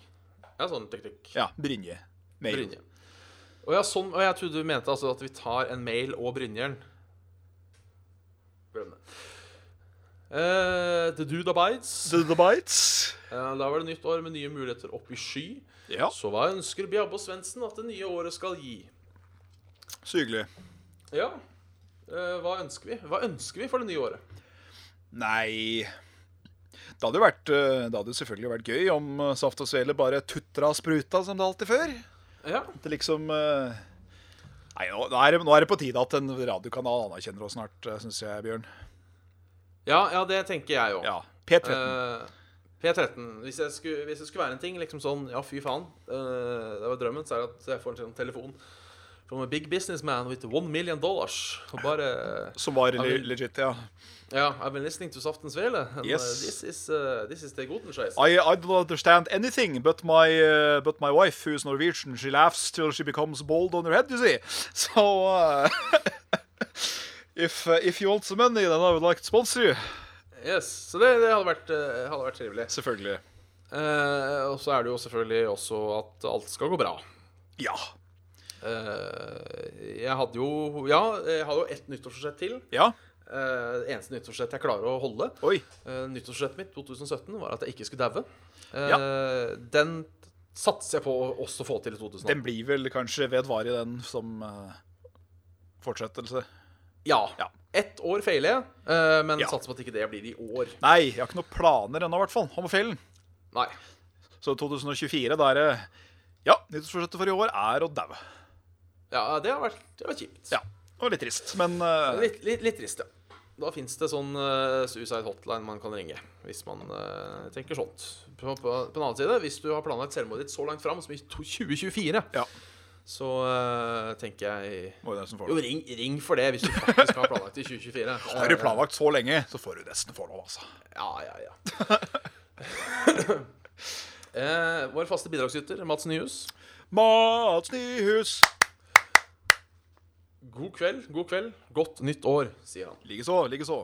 S1: Ja, sånn tikk-tikk.
S2: Ja, Brynje. Mail.
S1: Brynje. Og, ja, sånn, og jeg trodde du mente altså at vi tar en mail og Brynjeren. Glem det. Eh, the Dude Abides.
S2: The, the Bites.
S1: Eh, da var det nytt år med nye muligheter opp i sky.
S2: Ja,
S1: Så hva ønsker Bjabbe og Svendsen at det nye året skal gi?
S2: så hyggelig.
S1: Ja, eh, hva ønsker vi? Hva ønsker vi for det nye året?
S2: Nei Det hadde jo vært, eh, det hadde jo selvfølgelig vært gøy om eh, Saft og Svele bare tutra og spruta som det alltid før.
S1: Ja,
S2: At det liksom eh, Nei, nå nå er, det, nå er det på tide at en radiokanal anerkjenner oss snart, syns jeg, Bjørn.
S1: ja, ja det tenker jeg òg.
S2: Ja. P13.
S1: Eh, P13. Hvis jeg, skulle, hvis det skulle være en ting, liksom sånn Ja, fy faen. eh, det var drømmen. Så er det at jeg får en sånn telefon from a big businessman with one million dollars. Og bare
S2: Som var le-
S1: vi-
S2: legit, ja.
S1: Ja, I've been listening to Saftens Vele. And,
S2: Yes.
S1: eh, this is, eh, this is the Gutenscheis.
S2: I, I don't understand anything but my, uh, but my wife, who's Norwegian. She laughs till she becomes bald on her head, you see. So, uh, if, uh, if you want some money, then I would like to sponsor you.
S1: Yes. Så det, det hadde vært, eh, hadde vært trivelig.
S2: Selvfølgelig.
S1: Eh, og så er det jo selvfølgelig også at alt skal gå bra.
S2: Ja.
S1: Eh, jeg hadde jo Ja, jeg hadde jo ett nyttårsforsett til.
S2: Ja.
S1: Eh, det eneste nyttårsforsett jeg klarer å holde.
S2: Oi.
S1: Uh, Nyttårsrettet mitt 2017 var at jeg ikke skulle daue. Eh,
S2: Ja.
S1: Den satser jeg på å også få til i 2018.
S2: Den blir vel kanskje vedvarig, den, som uh, fortsettelse.
S1: Ja.
S2: Ja.
S1: Ett år feiler jeg, eh, men
S2: Ja.
S1: satser på at ikke det blir i år.
S2: Nei, jeg har ikke noen planer ennå, i hvert fall, om å feile den.
S1: Nei.
S2: Så 2024, da er det Ja, nyttårsforsettet for i år er å daue.
S1: Ja, det har vært, det har vært kjipt.
S2: Ja. Det var litt trist, men uh,
S1: Litt, litt, litt trist, ja. Da fins det sånn eh, suicide hotline man kan ringe hvis man eh, tenker sånt. På, på, på den annen side, hvis du har planlagt selvmordet ditt så langt fram som i to- 2024,
S2: Ja.
S1: så eh, tenker jeg
S2: må jo nesten få
S1: Jo,
S2: det.
S1: ring, ring for det hvis du faktisk har planlagt i 2024.
S2: Har du planlagt så lenge, så får du nesten forlov, altså.
S1: Ja, ja, ja. eh, vår faste bidragsyter, Mats Nyhus.
S2: Mats Nyhus.
S1: God kveld, god kveld. Godt nytt år, sier han.
S2: Likeså, likeså.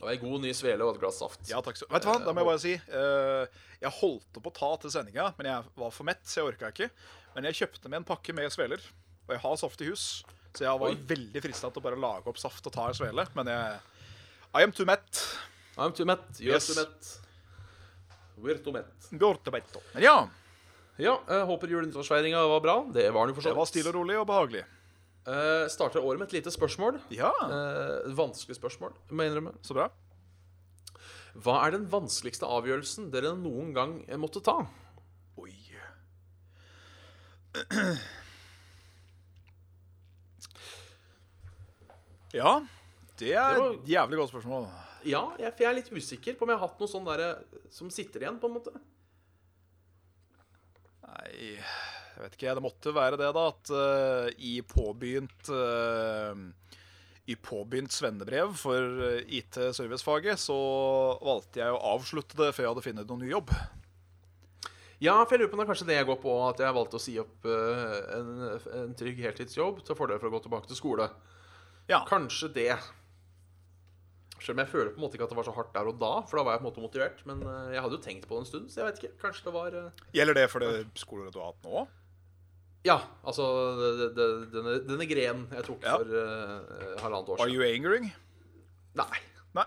S1: Og ei god ny svele og et glass saft.
S2: Ja, takk skal Vet du hva, da må jeg bare si eh, Jeg holdt på å ta til sendinga, men jeg var for mett, så jeg orka ikke. Men jeg kjøpte med en pakke med sveler, og jeg har saft i hus. Så jeg var
S1: Oi.
S2: veldig frista til å bare lage opp saft og ta en svele, men jeg I am too mett.
S1: I'm too met, you're
S2: Yes.
S1: too met. We're too met.
S2: Bjortebetto. Men ja,
S1: Ja, eh, håper jule- og nyttårsfeiringa var bra. Det var den jo for så
S2: det var stille og rolig og behagelig.
S1: Eh, starter året med et lite spørsmål.
S2: Ja,
S1: Eh, vanskelig spørsmål, må jeg innrømme.
S2: så bra.
S1: Hva er den vanskeligste avgjørelsen dere noen gang eh, måtte ta?
S2: Oi. Ja, det er
S1: Det var-
S2: et jævlig godt spørsmål.
S1: Ja, jeg, for jeg er litt usikker på om jeg har hatt noe sånn derre som sitter igjen, på en måte.
S2: Nei, jeg vet ikke. Det måtte være det, da. At eh, i påbegynt eh, I påbegynt svennebrev for eh, IT-servicefaget, så valgte jeg å avslutte det før jeg hadde funnet noen ny jobb.
S1: Ja, for jeg lurer på om det er kanskje det jeg går på, at jeg valgte å si opp eh, en, en trygg heltidsjobb til fordel for å gå tilbake til skole.
S2: Ja.
S1: Kanskje det. Selv om jeg føler på en måte ikke at det var så hardt der og da, for da var jeg på en måte motivert. Men eh, jeg hadde jo tenkt på det en stund, så jeg vet ikke. Kanskje det var eh,
S2: Gjelder det for det skoleåret du har hatt nå?
S1: Ja, altså det, det, denne, denne grenen jeg tok
S2: Ja.
S1: for eh, halvannet år
S2: Are
S1: siden.
S2: you angering?
S1: Nei.
S2: Nei.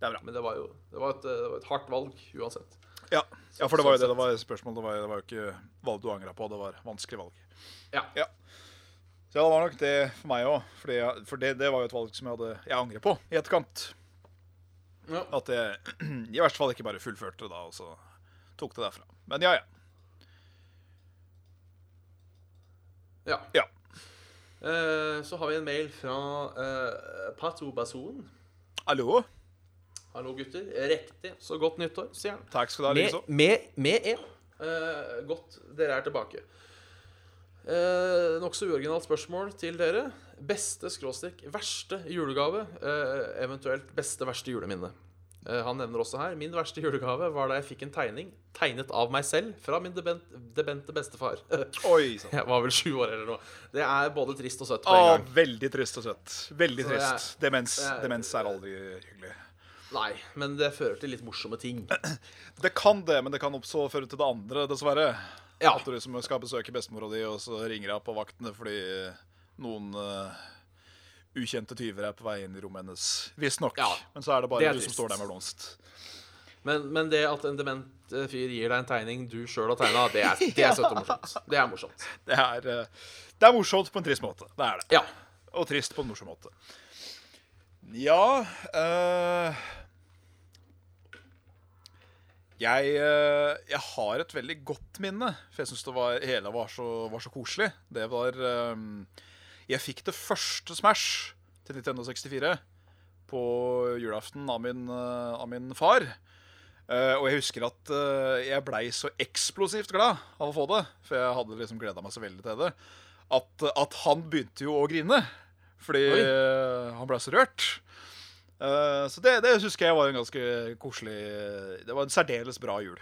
S2: Det er bra.
S1: Men det var jo det var et, eh, det var et hardt valg uansett.
S2: Ja, ja for det var jo det det var
S1: Sånn
S2: spørsmål. Det var, det var jo ikke valg du angra på, det var vanskelig valg.
S1: Ja.
S2: Så ja, det var nok det for meg òg. For det, det var jo et valg som jeg hadde Jeg angrer på i etterkant.
S1: ja.
S2: At jeg i verste fall ikke bare fullførte det da, og så tok det derfra. Men ja, ja.
S1: ja.
S2: ja.
S1: Eh, så har vi en mail fra eh, Pato Bason.
S2: Hallo?
S1: Hallo, gutter. Riktig så godt nyttår, sier han.
S2: Takk skal du ha,
S1: Med,
S2: likeså.
S1: med, med en. Eh, godt dere er tilbake. Uh, Nokså uoriginalt spørsmål til dere. Beste skråstrek verste julegave? eh, eventuelt beste verste juleminne? Eh, han nevner også her Min verste julegave var da jeg fikk en tegning tegnet av meg selv fra min debent, debente bestefar.
S2: Oi sann.
S1: jeg var vel sju år eller noe. Det er både trist og søtt på
S2: Å,
S1: en gang.
S2: veldig trist og søtt. Veldig
S1: Så det er-
S2: trist. Demens.
S1: det er-
S2: Demens er aldri hyggelig.
S1: Nei, men det fører til litt morsomme ting.
S2: Det kan det, men det kan også føre til det andre, dessverre.
S1: Ja.
S2: At du liksom skal besøke bestemora di, og så ringer hun på vaktene fordi noen eh, ukjente tyver er på vei inn i rommet hennes. Visstnok.
S1: Ja,
S2: Men så er det bare
S1: det er
S2: du som
S1: trist.
S2: står der med blomst.
S1: Men, men det at en dement eh, fyr gir deg en tegning du sjøl har tegna, det, er- det er søtt og morsomt. Det er morsomt.
S2: Det er, eh, det er morsomt på en trist måte. Det er det.
S1: Ja.
S2: Og trist på en morsom måte. Ja eh, jeg, eh, jeg har et veldig godt minne, for jeg syns det var, hele var så, var så koselig. Det var eh, Jeg fikk det første Smash til Nintendo 64 på julaften av min, eh, av min far. Eh, og jeg husker at eh, jeg blei så eksplosivt glad av å få det, for jeg hadde liksom gleda meg så veldig til det, at, at han begynte jo å grine. Fordi
S1: Oi.
S2: eh, han blei så rørt. Eh, så det, det husker jeg var en ganske koselig Det var en særdeles bra jul.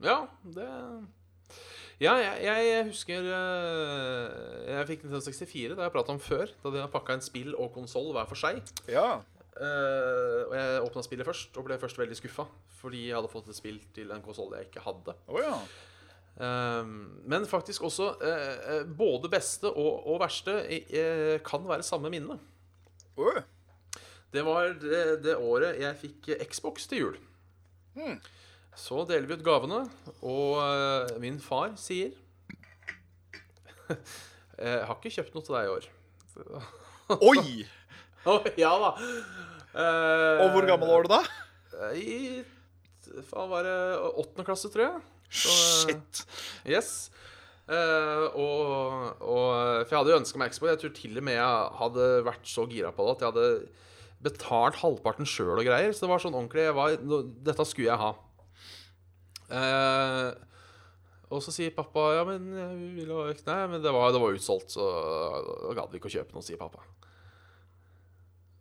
S1: Ja, det Ja, jeg, jeg husker eh, Jeg fikk Nintendo 64, det har jeg prata om før. Da de har pakka en spill og konsoll hver for seg.
S2: Ja.
S1: Eh, og jeg åpna spillet først, og ble først veldig skuffa. Fordi jeg hadde fått et spill til en konsoll jeg ikke hadde.
S2: Å ja.
S1: Ehm, men faktisk også eh, eh, både beste og, og verste eh, kan være samme minne.
S2: Oi.
S1: Det var det, det året jeg fikk eh, Xbox til jul.
S2: Hmm.
S1: Så deler vi ut gavene, og eh, min far sier Jeg har ikke kjøpt noe til deg i år.
S2: Oi!
S1: Å, ja da. Eh,
S2: Og hvor gammel var du da?
S1: I faen var det åttende klasse, tror jeg. Så, eh,
S2: Shit.
S1: Yes. Eh, og, og For jeg hadde jo ønska meg Expo. Jeg tror til og med jeg hadde vært så gira på det at jeg hadde betalt halvparten sjøl og greier. Så det var sånn ordentlig jeg var, nå- Dette skulle jeg ha. Eh, og så sier pappa Ja, men jeg vil ha Nei, men det var, det var utsolgt, så da gadd vi ikke å kjøpe noe, sier pappa.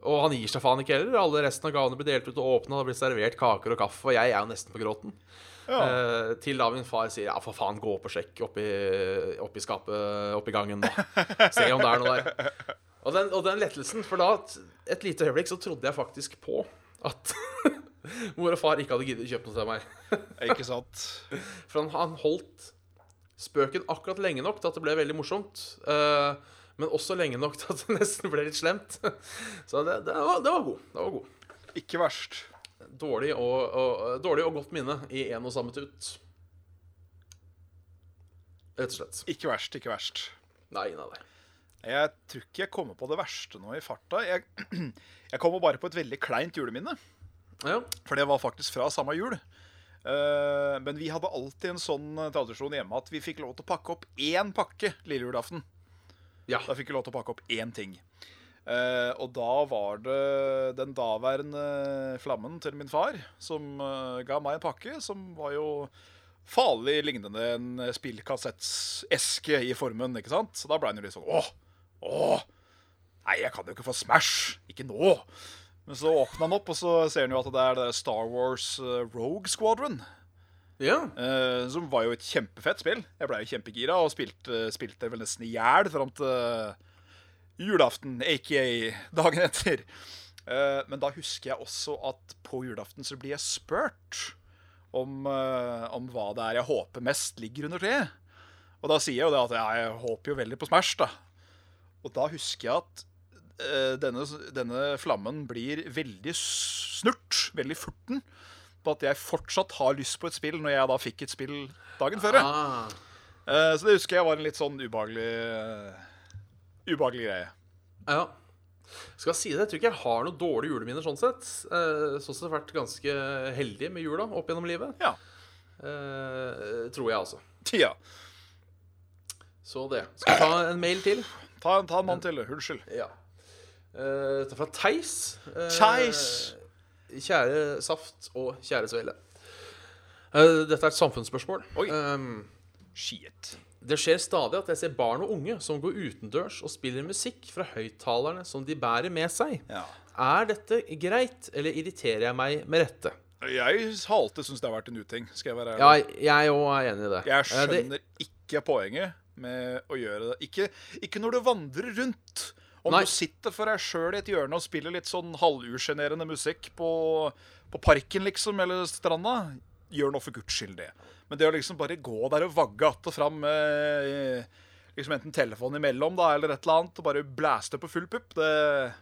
S1: Og han gir seg faen ikke heller. Alle resten av gavene blir delt ut og åpna. Det blir servert kaker og kaffe, og jeg er jo nesten på gråten.
S2: Ja.
S1: Eh, til da min far sier ja, for faen, gå opp og sjekk oppi, oppi skapet oppi gangen nå. Se om det er noe der. Og den, og den lettelsen, for da et, et lite øyeblikk så trodde jeg faktisk på at mor og far ikke hadde giddet å kjøpe noe til meg.
S2: Ikke sant?
S1: For han, han holdt spøken akkurat lenge nok til at det ble veldig morsomt. eh, men også lenge nok til at det nesten ble litt slemt. Så det, det, var, det var god. Det var god.
S2: Ikke verst.
S1: Dårlig og, og, dårlig og godt minne i én og samme tut. Rett og slett.
S2: Ikke verst, ikke verst.
S1: Nei, nei, nei.
S2: Jeg tror ikke jeg kommer på det verste nå i farta. Jeg, jeg kommer bare på et veldig kleint juleminne.
S1: Ja,
S2: For det var faktisk fra samme jul. Eh, men vi hadde alltid en sånn tradisjon hjemme at vi fikk lov til å pakke opp én pakke lille julaften.
S1: ja.
S2: Da fikk vi lov til å pakke opp én ting. Eh, og da var det den daværende flammen til min far som eh, ga meg en pakke som var jo farlig lignende en spillkassettseske i formen, ikke sant? Så da ble han jo litt sånn åh, åh, nei, jeg kan jo ikke få Smash, ikke nå. Men så åpna han opp, og så ser han jo at det er det der Star Wars eh, Rogue Squadron.
S1: Ja.
S2: Eh, som var jo et kjempefett spill. Jeg blei jo kjempegira og spilte, eh, spilte vel nesten i hjel fram til julaften, aka dagen etter. Eh, men da husker jeg også at på julaften så blir jeg spurt om, eh, om hva det er jeg håper mest ligger under treet. Og da sier jeg jo det at ja, jeg håper jo veldig på Smash, da. Og da husker jeg at eh, denne, denne flammen blir veldig snurt, veldig furten, på at jeg fortsatt har lyst på et spill når jeg da fikk et spill dagen før. ja.
S1: Ah.
S2: Eh, Så det husker jeg var en litt sånn ubehagelig eh, Ubehagelig greie.
S1: Ja. Skal si det, Jeg tror ikke jeg har noen dårlige juleminner sånn sett. Eh, sånn sett har jeg vært ganske heldig med jula opp gjennom livet.
S2: Ja.
S1: Eh, tror jeg, altså.
S2: Tja.
S1: Så det. Skal vi ta en mail til?
S2: Ta, en- ta en mann til. Unnskyld.
S1: Ja. Eh, Dette er fra Theis. Eh,
S2: Theis!
S1: Kjære Saft og kjære Svele. Eh, dette er et samfunnsspørsmål.
S2: Oi.
S1: Eh,
S2: Shit.
S1: Det skjer stadig at jeg ser barn og unge som går utendørs og spiller musikk fra høyttalerne som de bærer med seg.
S2: Ja.
S1: Er dette greit, eller irriterer jeg meg med rette?
S2: Jeg har alltid syntes det har vært en uting. Skal jeg være ærlig.
S1: Ja, jeg òg er enig i det.
S2: Jeg
S1: Eh, det-
S2: skjønner ikke poenget med å gjøre det. Ikke, ikke når du vandrer rundt. Om
S1: Nei.
S2: du sitter for deg sjøl i et hjørne og spiller litt sånn halvusjenerende musikk på, på parken, liksom, eller stranda, gjør nå for guds skyld det. Men det å liksom bare gå der og vagge att og fram med liksom enten telefonen imellom da, eller et eller annet, og bare blæste på full pupp, det,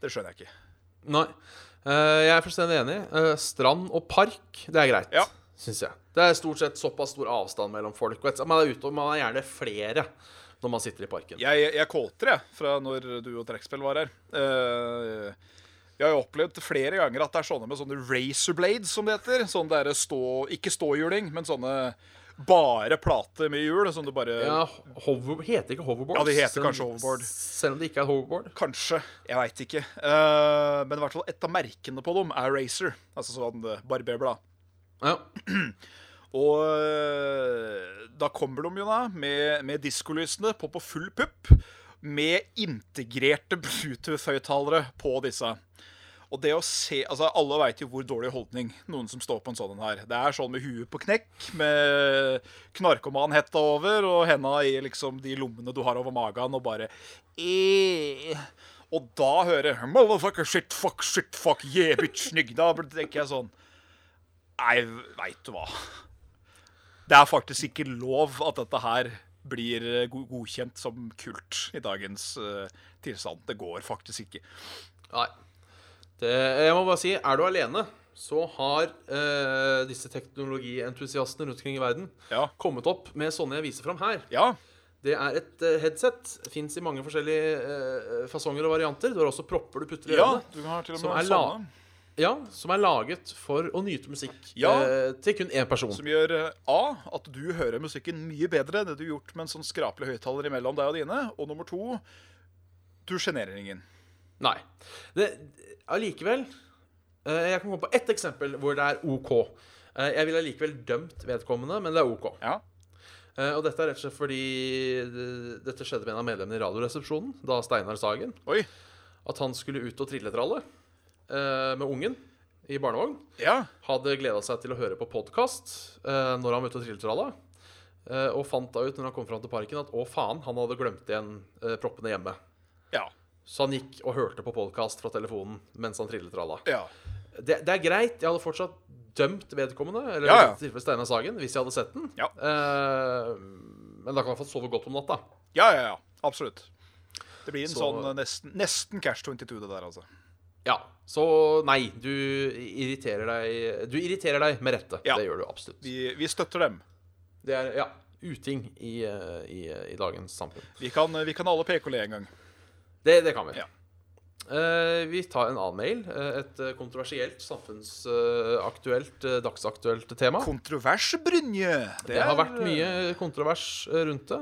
S2: det skjønner jeg ikke.
S1: Nei. Eh, jeg er fullstendig enig. Eh, strand og park, det er greit.
S2: Ja.
S1: Syns jeg. Det er stort sett såpass stor avstand mellom folk. Og et, man, er ute, og man er gjerne flere når man sitter i parken.
S2: Jeg, jeg, jeg kåter, jeg, fra når du og trekkspill var her. Eh, jeg har jo opplevd flere ganger at det er sånne med sånne razor blades, som det heter. Sånn der stå, ikke ståhjuling, men sånne bare plate med hjul. Som du bare
S1: Ja, hover, heter det ikke hoverboard?
S2: Ja, det heter
S1: Selv-
S2: kanskje hoverboard.
S1: Selv om det ikke er hoverboard.
S2: Kanskje. Jeg veit ikke. Eh, men i hvert fall et av merkene på dem er Racer. Altså sånn eh, barberblad.
S1: Ja.
S2: Og øh, da kommer de jo da med, med diskolysene på på full pupp, med integrerte Bluetooth-høyttalere på disse. Og det å se, altså Alle veit jo hvor dårlig holdning noen som står på en sånn en har. Det er sånn med huet på knekk, med knarkomanhetta over og henda i liksom de lommene du har over magen, og bare eh. Og da hører jeg, Motherfucker, shit, fuck, shit, fuck, yeah, bitch, nigg. Da tenker jeg sånn Nei, veit du hva. Det er faktisk ikke lov at dette her blir eh, go- godkjent som kult i dagens eh, tilstand. Det går faktisk ikke.
S1: Nei. Det, jeg må bare si, er du alene, så har eh, disse teknologientusiastene rundt omkring i verden
S2: Ja.
S1: kommet opp med sånne jeg viser fram her.
S2: Ja.
S1: Det er et eh, headset. Fins i mange forskjellige eh, fasonger og varianter. Du har også propper du putter i
S2: ja
S1: ørene.
S2: du har til og
S1: Som
S2: med
S1: er la-
S2: sånne
S1: Ja, som er laget for å nyte musikk
S2: Ja.
S1: eh, til kun én person.
S2: som gjør eh, A, at du hører musikken mye bedre enn det du har gjort med en sånn skrapelig høyttaler imellom deg og dine. Og nummer to, du sjenerer ingen.
S1: Nei. Det, allikevel eh, Jeg kan komme på ett eksempel hvor det er OK. Eh, jeg ville allikevel dømt vedkommende, men det er OK.
S2: Ja.
S1: Eh, og dette er rett og slett fordi eh, dette skjedde med en av medlemmene i Radioresepsjonen, da Steinar Sagen,
S2: Oi.
S1: at han skulle ut og trilletralle eh, med ungen i barnevogn.
S2: Ja.
S1: Hadde gleda seg til å høre på podkast eh, når han var ute og trilletralla. Eh, og fant da ut når han kom fram til parken at å faen, han hadde glemt igjen eh, proppene hjemme.
S2: Ja.
S1: Så han gikk og hørte på podkast fra telefonen mens han trilletralla.
S2: Ja.
S1: Det, det er greit. Jeg hadde fortsatt dømt vedkommende, eller
S2: Ja,
S1: ja,
S2: ja.
S1: tilfellet Steinar Sagen, hvis jeg hadde sett den.
S2: Ja.
S1: Eh, men da kan jeg få sove godt om natta.
S2: Ja, ja, ja. Absolutt. Det blir en
S1: Så-
S2: sånn eh, nesten, nesten Cash 22, det der, altså.
S1: Ja. Så nei, du irriterer deg Du irriterer deg med rette.
S2: Ja.
S1: Det gjør du absolutt.
S2: Vi, vi støtter dem.
S1: Det er ja, uting i, eh, i, i dagens samfunn.
S2: Vi kan, eh, vi kan alle peke og le en gang.
S1: Det, det kan vi.
S2: Ja.
S1: Eh, vi tar en annen mail. Eh, Et eh, kontroversielt, samfunnsaktuelt, eh, dagsaktuelt tema.
S2: Kontrovers, Brynje.
S1: Det har vært mye kontrovers eh, rundt det.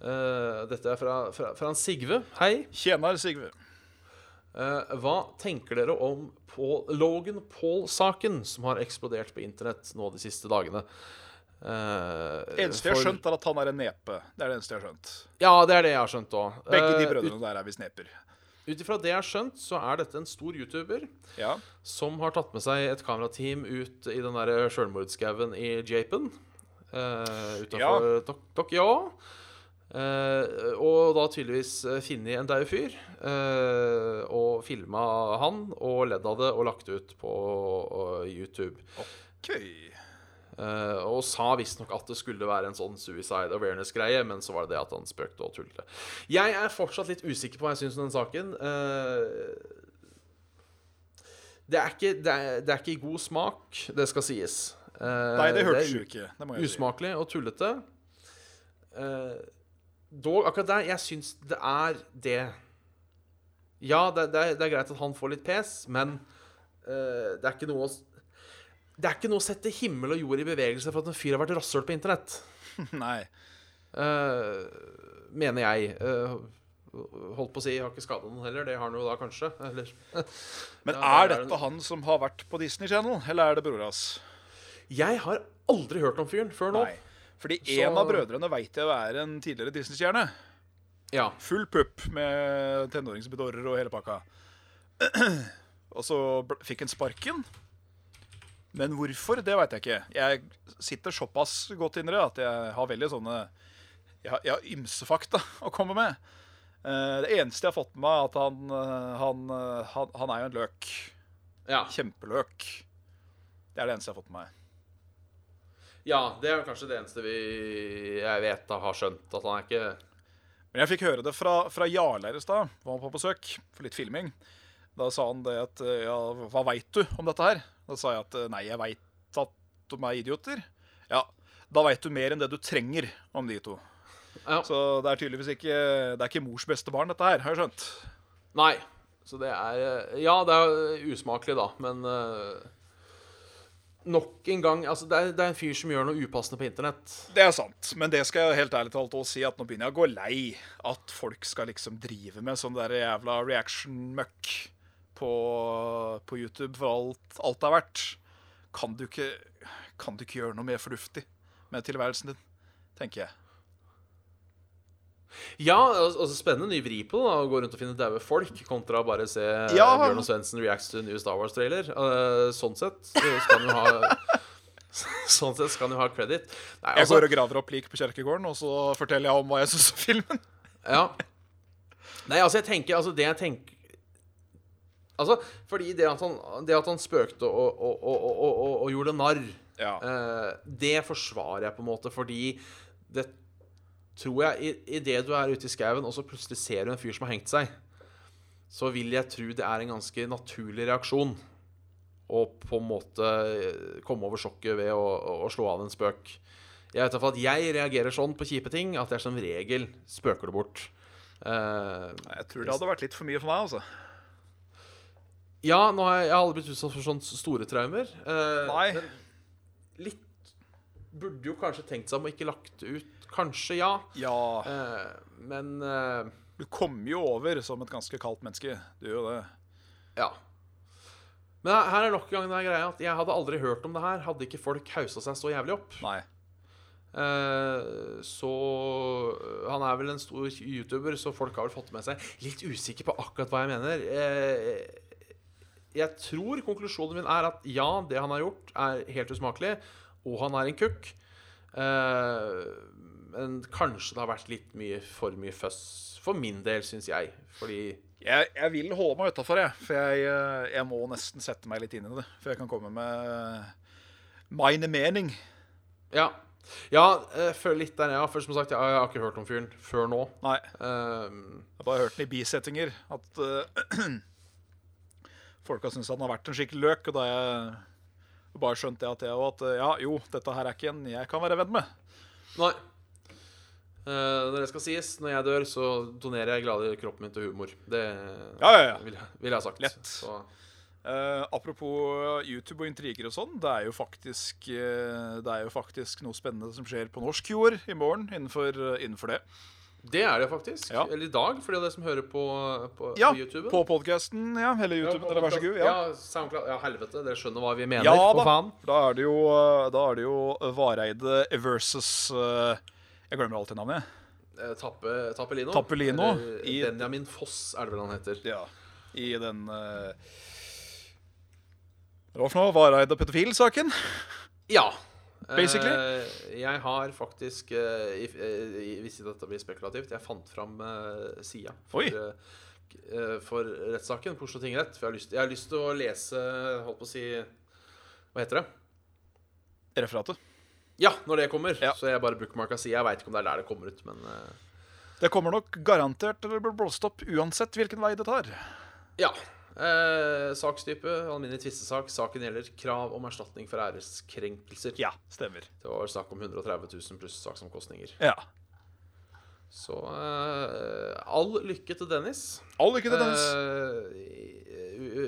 S1: Eh, dette er fra, fra, fra en Sigve. Hei.
S2: Tjener, Sigve.
S1: Eh, hva tenker dere om Paul, Logan Paul-saken som har eksplodert på internett nå de siste dagene?
S2: Det
S1: Eh,
S2: eneste jeg har
S1: for-
S2: skjønt, er at han er en nepe. Det er det eneste jeg har skjønt.
S1: Ja, det er det jeg har skjønt òg.
S2: Begge de brødrene der er visst neper.
S1: Ut ifra det jeg har skjønt, så er dette en stor YouTuber
S2: Ja.
S1: som har tatt med seg et kamerateam ut i den der sjølmordskauen i Japan. Uh, Utafor Tok Tokyo. Eh, og da tydeligvis eh, funnet en daud fyr. eh, og filma han og ledd av det og lagt det ut på eh, YouTube.
S2: OK.
S1: Eh, og sa visstnok at det skulle være en sånn suicide awareness-greie, men så var det det at han spøkte og tullte. Jeg er fortsatt litt usikker på hva jeg syns om den saken. Eh, det, er ikke, det, er, det er ikke i god smak, det skal sies. Eh,
S2: Nei, det hørtes
S1: er
S2: jo ikke. Det må jeg si.
S1: Usmakelig og tullete. Eh, dog, akkurat der, jeg syns det er det. Ja, det, det, er, det er greit at han får litt pes, men eh, det er ikke noe å s- Det er ikke noe å sette himmel og jord i bevegelse for at en fyr har vært rasshøl på internett.
S2: Nei.
S1: Eh, mener jeg. Eh, holdt på å si, jeg har ikke skada noen heller. Det har han jo da kanskje. Eller
S2: Men
S1: Ja,
S2: er
S1: det er
S2: dette han som har vært på Disney Channel, eller er det bror hans?
S1: Jeg har aldri hørt om fyren før nå.
S2: Nei. Fordi
S1: Så-
S2: en av brødrene veit jeg er en tidligere Disney-stjerne.
S1: Ja.
S2: Full pupp med tenåringsbedårer og hele pakka. Og så bl- fikk han sparken. Men hvorfor, det veit jeg ikke. Jeg sitter såpass godt inni det at jeg har veldig sånne Jeg har, jeg har ymse fakta å komme med. Eh, Det eneste jeg har fått med meg, er at han, eh, han, eh, han, han er jo en løk.
S1: ja.
S2: Kjempeløk. Det er det eneste jeg har fått med meg.
S1: Ja, det er kanskje det eneste vi jeg vet da har skjønt. At han er ikke
S2: Men jeg fikk høre det fra, fra Jarle her i stad, var han på besøk for litt filming. Da sa han det at eh, Ja, hva veit du om dette her? Da sa jeg at eh, nei, jeg veit at de er idioter. Ja, da veit du mer enn det du trenger om de to.
S1: ja.
S2: Så det er tydeligvis ikke Det er ikke mors beste barn, dette her, har jeg skjønt.
S1: Nei. Så det er eh, Ja, det er usmakelig, da, men eh, Nok en gang Altså, det er, det er en fyr som gjør noe upassende på internett.
S2: Det er sant, men det skal jeg helt ærlig talt også si at nå begynner jeg å gå lei at folk skal liksom drive med sånn der jævla reaction-møkk på, på YouTube for alt, alt det er verdt. Kan du, ikke, kan du ikke gjøre noe mer fornuftig med tilværelsen din, tenker jeg.
S1: Ja, al- altså spennende ny vri på det, da, å gå rundt og finne daue folk, kontra bare se eh,
S2: Ja.
S1: Bjørn og Svendsen reacts to new Star Wars-trailer. Eh, sånn sett så skal han jo ha Sånn sett skal han jo ha credit. Nei, altså,
S2: Jeg går og graver opp lik på kirkegården, og så forteller jeg om hva jeg syns om filmen.
S1: Ja. Nei, altså, jeg tenker Altså, det jeg tenker Altså, fordi det at han, det at han spøkte og, og, og, og, og, og, og gjorde narr,
S2: Ja.
S1: eh, det forsvarer jeg på en måte, fordi det tror jeg i- Idet du er ute i skauen, og så plutselig ser du en fyr som har hengt seg, så vil jeg tro det er en ganske naturlig reaksjon å på en måte eh, komme over sjokket ved å, å, å slå av en spøk. Jeg vet i hvert fall at jeg reagerer sånn på kjipe ting at jeg som regel spøker det bort. Eh,
S2: Jeg tror det hadde vært litt for mye for meg, altså.
S1: ja, nå har jeg, jeg har aldri blitt utsatt for sånne store traumer. Eh,
S2: Nei.
S1: men Litt Burde jo kanskje tenkt seg om og ikke lagt det ut. Kanskje, ja.
S2: Ja.
S1: Eh, men eh,
S2: Du kommer jo over som et ganske kaldt menneske. Du gjør jo det.
S1: Ja. Men her- her er nok en gang den greia at jeg hadde aldri hørt om det her hadde ikke folk hausa seg så jævlig opp.
S2: Nei.
S1: Eh, så eh, han er vel en stor YouTuber, så folk har vel fått med seg. Litt usikker på akkurat hva jeg mener. Eh, jeg tror konklusjonen min er at ja, det han har gjort, er helt usmakelig, og han er en kukk. Eh, men kanskje det har vært litt mye for mye føss. For min del, syns jeg. Fordi
S2: Jeg, jeg vil holde meg utafor, jeg. For jeg, eh, jeg må nesten sette meg litt inn i det. For jeg kan komme med eh, mine mening.
S1: Ja. ja eh, før litt der, ja. For som sagt, jeg, jeg har ikke hørt om fyren før nå.
S2: Nei,
S1: Eh,
S2: jeg har bare hørt den i bisettinger. At eh, folka syns han har vært en skikkelig løk. Og da har jeg bare skjønte jeg at jeg òg at eh, ja, jo, dette her er ikke en jeg kan være venn med.
S1: Nei. Eh, når det skal sies, når jeg dør, så donerer jeg gladelig kroppen min til humor. Det
S2: Ja, ja, ja.
S1: Vil, jeg, vil jeg ha sagt.
S2: Lett.
S1: Så,
S2: Eh, apropos YouTube og intriger og sånn, det er jo faktisk eh, Det er jo faktisk noe spennende som skjer på norsk jord i morgen innenfor, eh, innenfor det.
S1: det er det faktisk.
S2: Ja.
S1: Eller i dag, for det er det som hører på, på,
S2: Ja,
S1: på YouTube.
S2: på podkasten, ja. Eller YouTube, eller vær så god.
S1: Ja.
S2: Ja.
S1: SoundCloud. Ja, helvete. Dere skjønner hva vi mener.
S2: Ja
S1: for
S2: da.
S1: faen.
S2: Da er det jo, da er det jo Vareide versus eh, Jeg glemmer alltid navnet.
S1: eh, Tappe, Tappelino.
S2: Tappelino
S1: Eller
S2: i-
S1: Benjamin Foss er det vel han heter.
S2: Ja, i den eh, Hva for noe? Vareide pedofil-saken?
S1: Ja.
S2: Basically.
S1: Eh, jeg har faktisk, eh, if- eh, i- hvis dette blir spekulativt, jeg fant fram eh, sida for,
S2: Oi.
S1: eh, k- eh, for rettssaken på Oslo tingrett. For jeg har lyst, jeg har lyst til å lese Holdt på å si Hva heter det?
S2: Referatet.
S1: Ja, når det kommer.
S2: Ja.
S1: Så jeg bare bookmarka sida. Jeg veit ikke om det er der det kommer ut, men eh,
S2: Det kommer nok garantert til å bli blåst opp uansett hvilken vei det tar.
S1: Ja. Eh, sakstype, alminnelig tvistesak. Saken gjelder krav om erstatning for æreskrenkelser.
S2: Ja, stemmer.
S1: Det var snakk om 130 000 pluss saksomkostninger.
S2: Ja.
S1: Så eh, all lykke til Dennis.
S2: All lykke til, Dennis.
S1: Eh, i-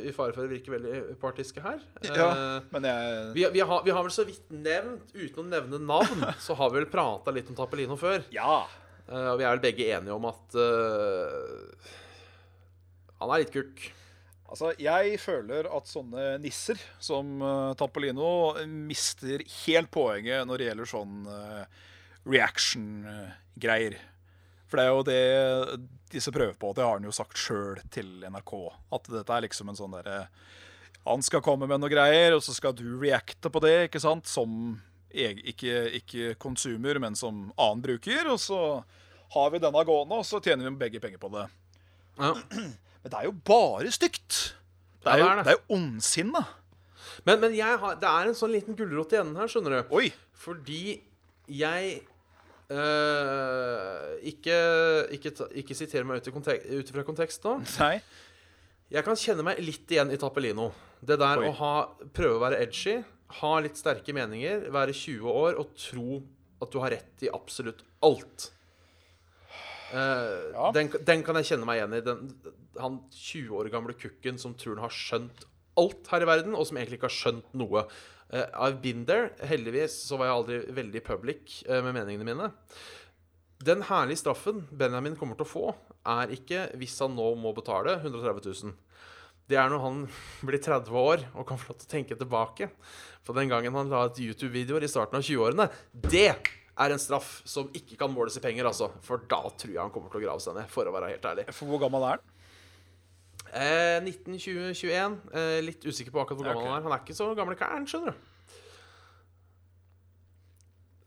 S1: I fare for å virke veldig partiske her. Eh,
S2: ja, men jeg
S1: vi, vi, har, vi har vel så vidt nevnt, uten å nevne navn, så har vi vel prata litt om Tappelino før.
S2: Ja.
S1: Eh, og vi er vel begge enige om at eh, han er litt kukk.
S2: Altså, jeg føler at sånne nisser som eh, Tampolino mister helt poenget når det gjelder sånn eh, reaction-greier. For det er jo det disse prøver på, og det har han jo sagt sjøl til NRK. At dette er liksom en sånn derre Han skal komme med noe greier, og så skal du reacte på det, ikke sant? Som eg, ikke, ikke consumer, men som annen bruker. Og så har vi denne gående, og så tjener vi begge penger på det.
S1: Ja.
S2: Men det er jo bare stygt. Det
S1: Ja,
S2: er
S1: det
S2: jo,
S1: er det.
S2: det er jo ondsinna.
S1: Men, men jeg har, det er en sånn liten gulrot i enden her, skjønner du.
S2: Oi.
S1: Fordi jeg øh, ikke, ikke, ta- ikke siterer meg ut, i kontek ut fra kontekst nå.
S2: Nei.
S1: Jeg kan kjenne meg litt igjen i Tappelino. Det der
S2: Oi.
S1: å ha, prøve å være edgy, ha litt sterke meninger, være 20 år og tro at du har rett i absolutt alt. Eh,
S2: Ja.
S1: den, den kan jeg kjenne meg igjen i. Den, han 20 år gamle kukken som tror han har skjønt alt her i verden, og som egentlig ikke har skjønt noe. Eh, I've been there. Heldigvis så var jeg aldri veldig public eh, med meningene mine. Den herlige straffen Benjamin kommer til å få, er ikke, hvis han nå må betale, 130 000. Det er når han blir 30 år og kan få lov til å tenke tilbake på den gangen han la ut YouTube-videoer i starten av 20-årene. Det er en straff som ikke kan måles i penger, altså. For da tror jeg han kommer til å grave seg ned, for å være helt ærlig.
S2: For hvor gammel er han?
S1: Eh, 19, 20, 21. Eh, litt usikker på akkurat hvor
S2: Ja,
S1: gammel
S2: ok.
S1: han er. Han er ikke så gamle kæren, skjønner du.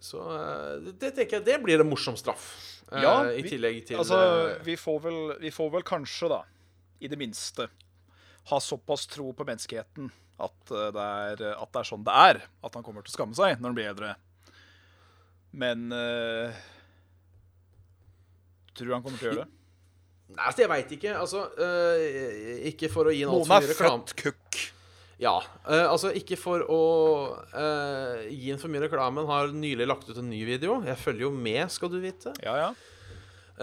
S1: Så eh, det- det tenker jeg, det blir en morsom straff. Eh,
S2: Ja,
S1: I
S2: vi-
S1: tillegg til
S2: Altså,
S1: eh,
S2: vi får, vel, vi får vel kanskje, da, i det minste, ha såpass tro på menneskeheten at eh, det er, at det er sånn det er. At han kommer til å skamme seg når han blir eldre. Men eh, Tror du han kommer til å gjøre det?
S1: Nei, altså, jeg veit ikke. Altså, eh, ikke for å gi en
S2: Noen
S1: altfor
S2: er
S1: mye reklame.
S2: født kukk.
S1: Ja. eh, altså, ikke for å eh, gi en for mye reklame, men har nylig lagt ut en ny video. Jeg følger jo med, skal du vite.
S2: Ja, ja.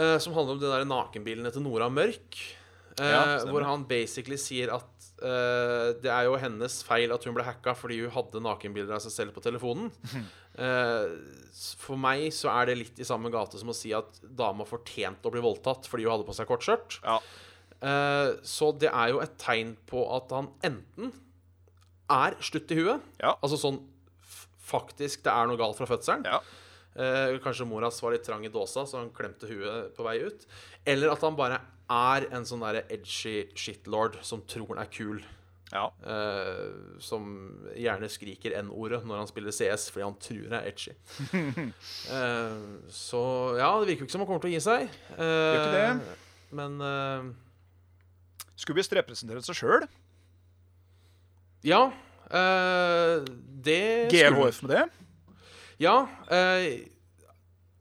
S1: eh, som handler om de der nakenbilene til Nora Mørk. eh,
S2: Ja, stemmer.
S1: hvor han basically sier at eh, det er jo hennes feil at hun ble hacka fordi hun hadde nakenbilder av seg selv på telefonen. Eh, s- for meg så er det litt i samme gate som å si at dama fortjente å bli voldtatt fordi hun hadde på seg kort skjørt.
S2: ja.
S1: Eh, Så det er jo et tegn på at han enten er slutt i huet,
S2: Ja.
S1: altså sånn f- faktisk det er noe galt fra fødselen.
S2: Ja.
S1: Eh, kanskje mora hans var litt trang i dåsa, så han klemte huet på vei ut. Eller at han bare er en sånn der edgy shitlord som tror han er kul.
S2: ja.
S1: eh, som gjerne skriker N-ordet når han spiller CS fordi han tror han er edgy. Eh, så ja, det virker jo ikke som han kommer til å gi seg. Uh,
S2: Gjør ikke
S1: Men eh,
S2: Skubbis representerer seg sjøl.
S1: Ja. eh, det skulle-
S2: GLHF med det.
S1: Ja. eh,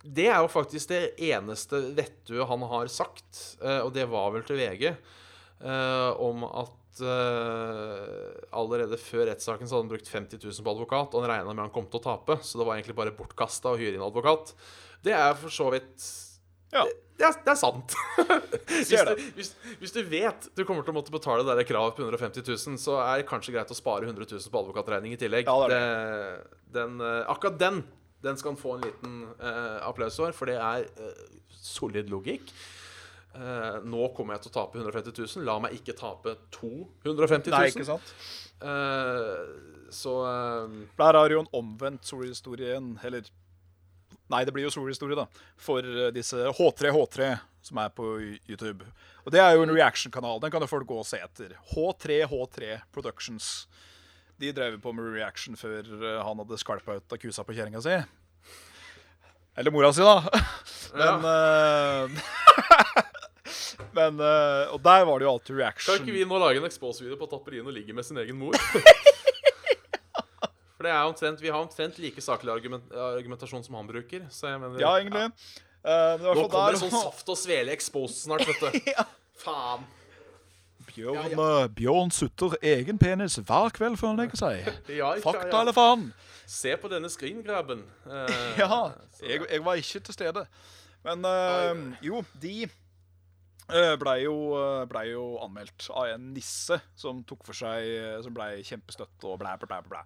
S1: det er jo faktisk det eneste vettue han har sagt, eh, og det var vel til VG, eh, om at eh, allerede før rettssaken så hadde han brukt 50 000 på advokat, og han regna med han kom til å tape, så det var egentlig bare bortkasta å hyre inn advokat. Det er for så vidt
S2: Ja.
S1: det er, det er sant. hvis,
S2: Ser
S1: du, hvis, hvis du vet du kommer til å måtte betale det der kravet på 150 000, så er det kanskje greit å spare 100 000 på advokatregning i tillegg.
S2: Ja, det
S1: Det- den, eh, akkurat den den skal han få en liten eh, applaus for, for det er eh, solid logikk. Eh, nå kommer jeg til å tape 150 000. La meg ikke tape 250
S2: Nei, ikke
S1: 000.
S2: sant?
S1: Eh, så eh,
S2: Der har jo en omvendt solhistorie igjen, eller Nei, det blir jo solhistorie, da. For eh, disse H3H3 som er på YouTube. Og det er jo en reaction-kanal. Den kan jo folk gå og se etter. H3H3 Productions. De drev på med reaction før eh, han hadde skalpa ut av kusa på kjerringa si. Eller mora si, da. Men eh, Men eh, Og der var det jo alltid reaction.
S1: Kan ikke vi nå lage en Expose-video på at Tapperino ligger med sin egen mor? For det er omtrent, Vi har omtrent like saklig argument, argumentasjon som han bruker. Så jeg mener,
S2: Ja, egentlig. Eh, det var
S1: Nå
S2: i hvert fall
S1: kommer
S2: der,
S1: det sånn
S2: og-
S1: saft og svele Expose snart, vet du. Faen.
S2: Bjørn, eh, Bjørn sutter egen penis hver kveld før han legger seg.
S1: Ja, ikke-
S2: Fakta
S1: ja.
S2: eller faen?
S1: Se på denne skringrabben. Eh,
S2: Ja,
S1: så-
S2: jeg, jeg var ikke til stede. Men eh, jo, de eh, blei jo, eh, ble jo anmeldt av en nisse som tok for seg eh, Som blei kjempestøtt og blæ, blæ, blæ. blæ.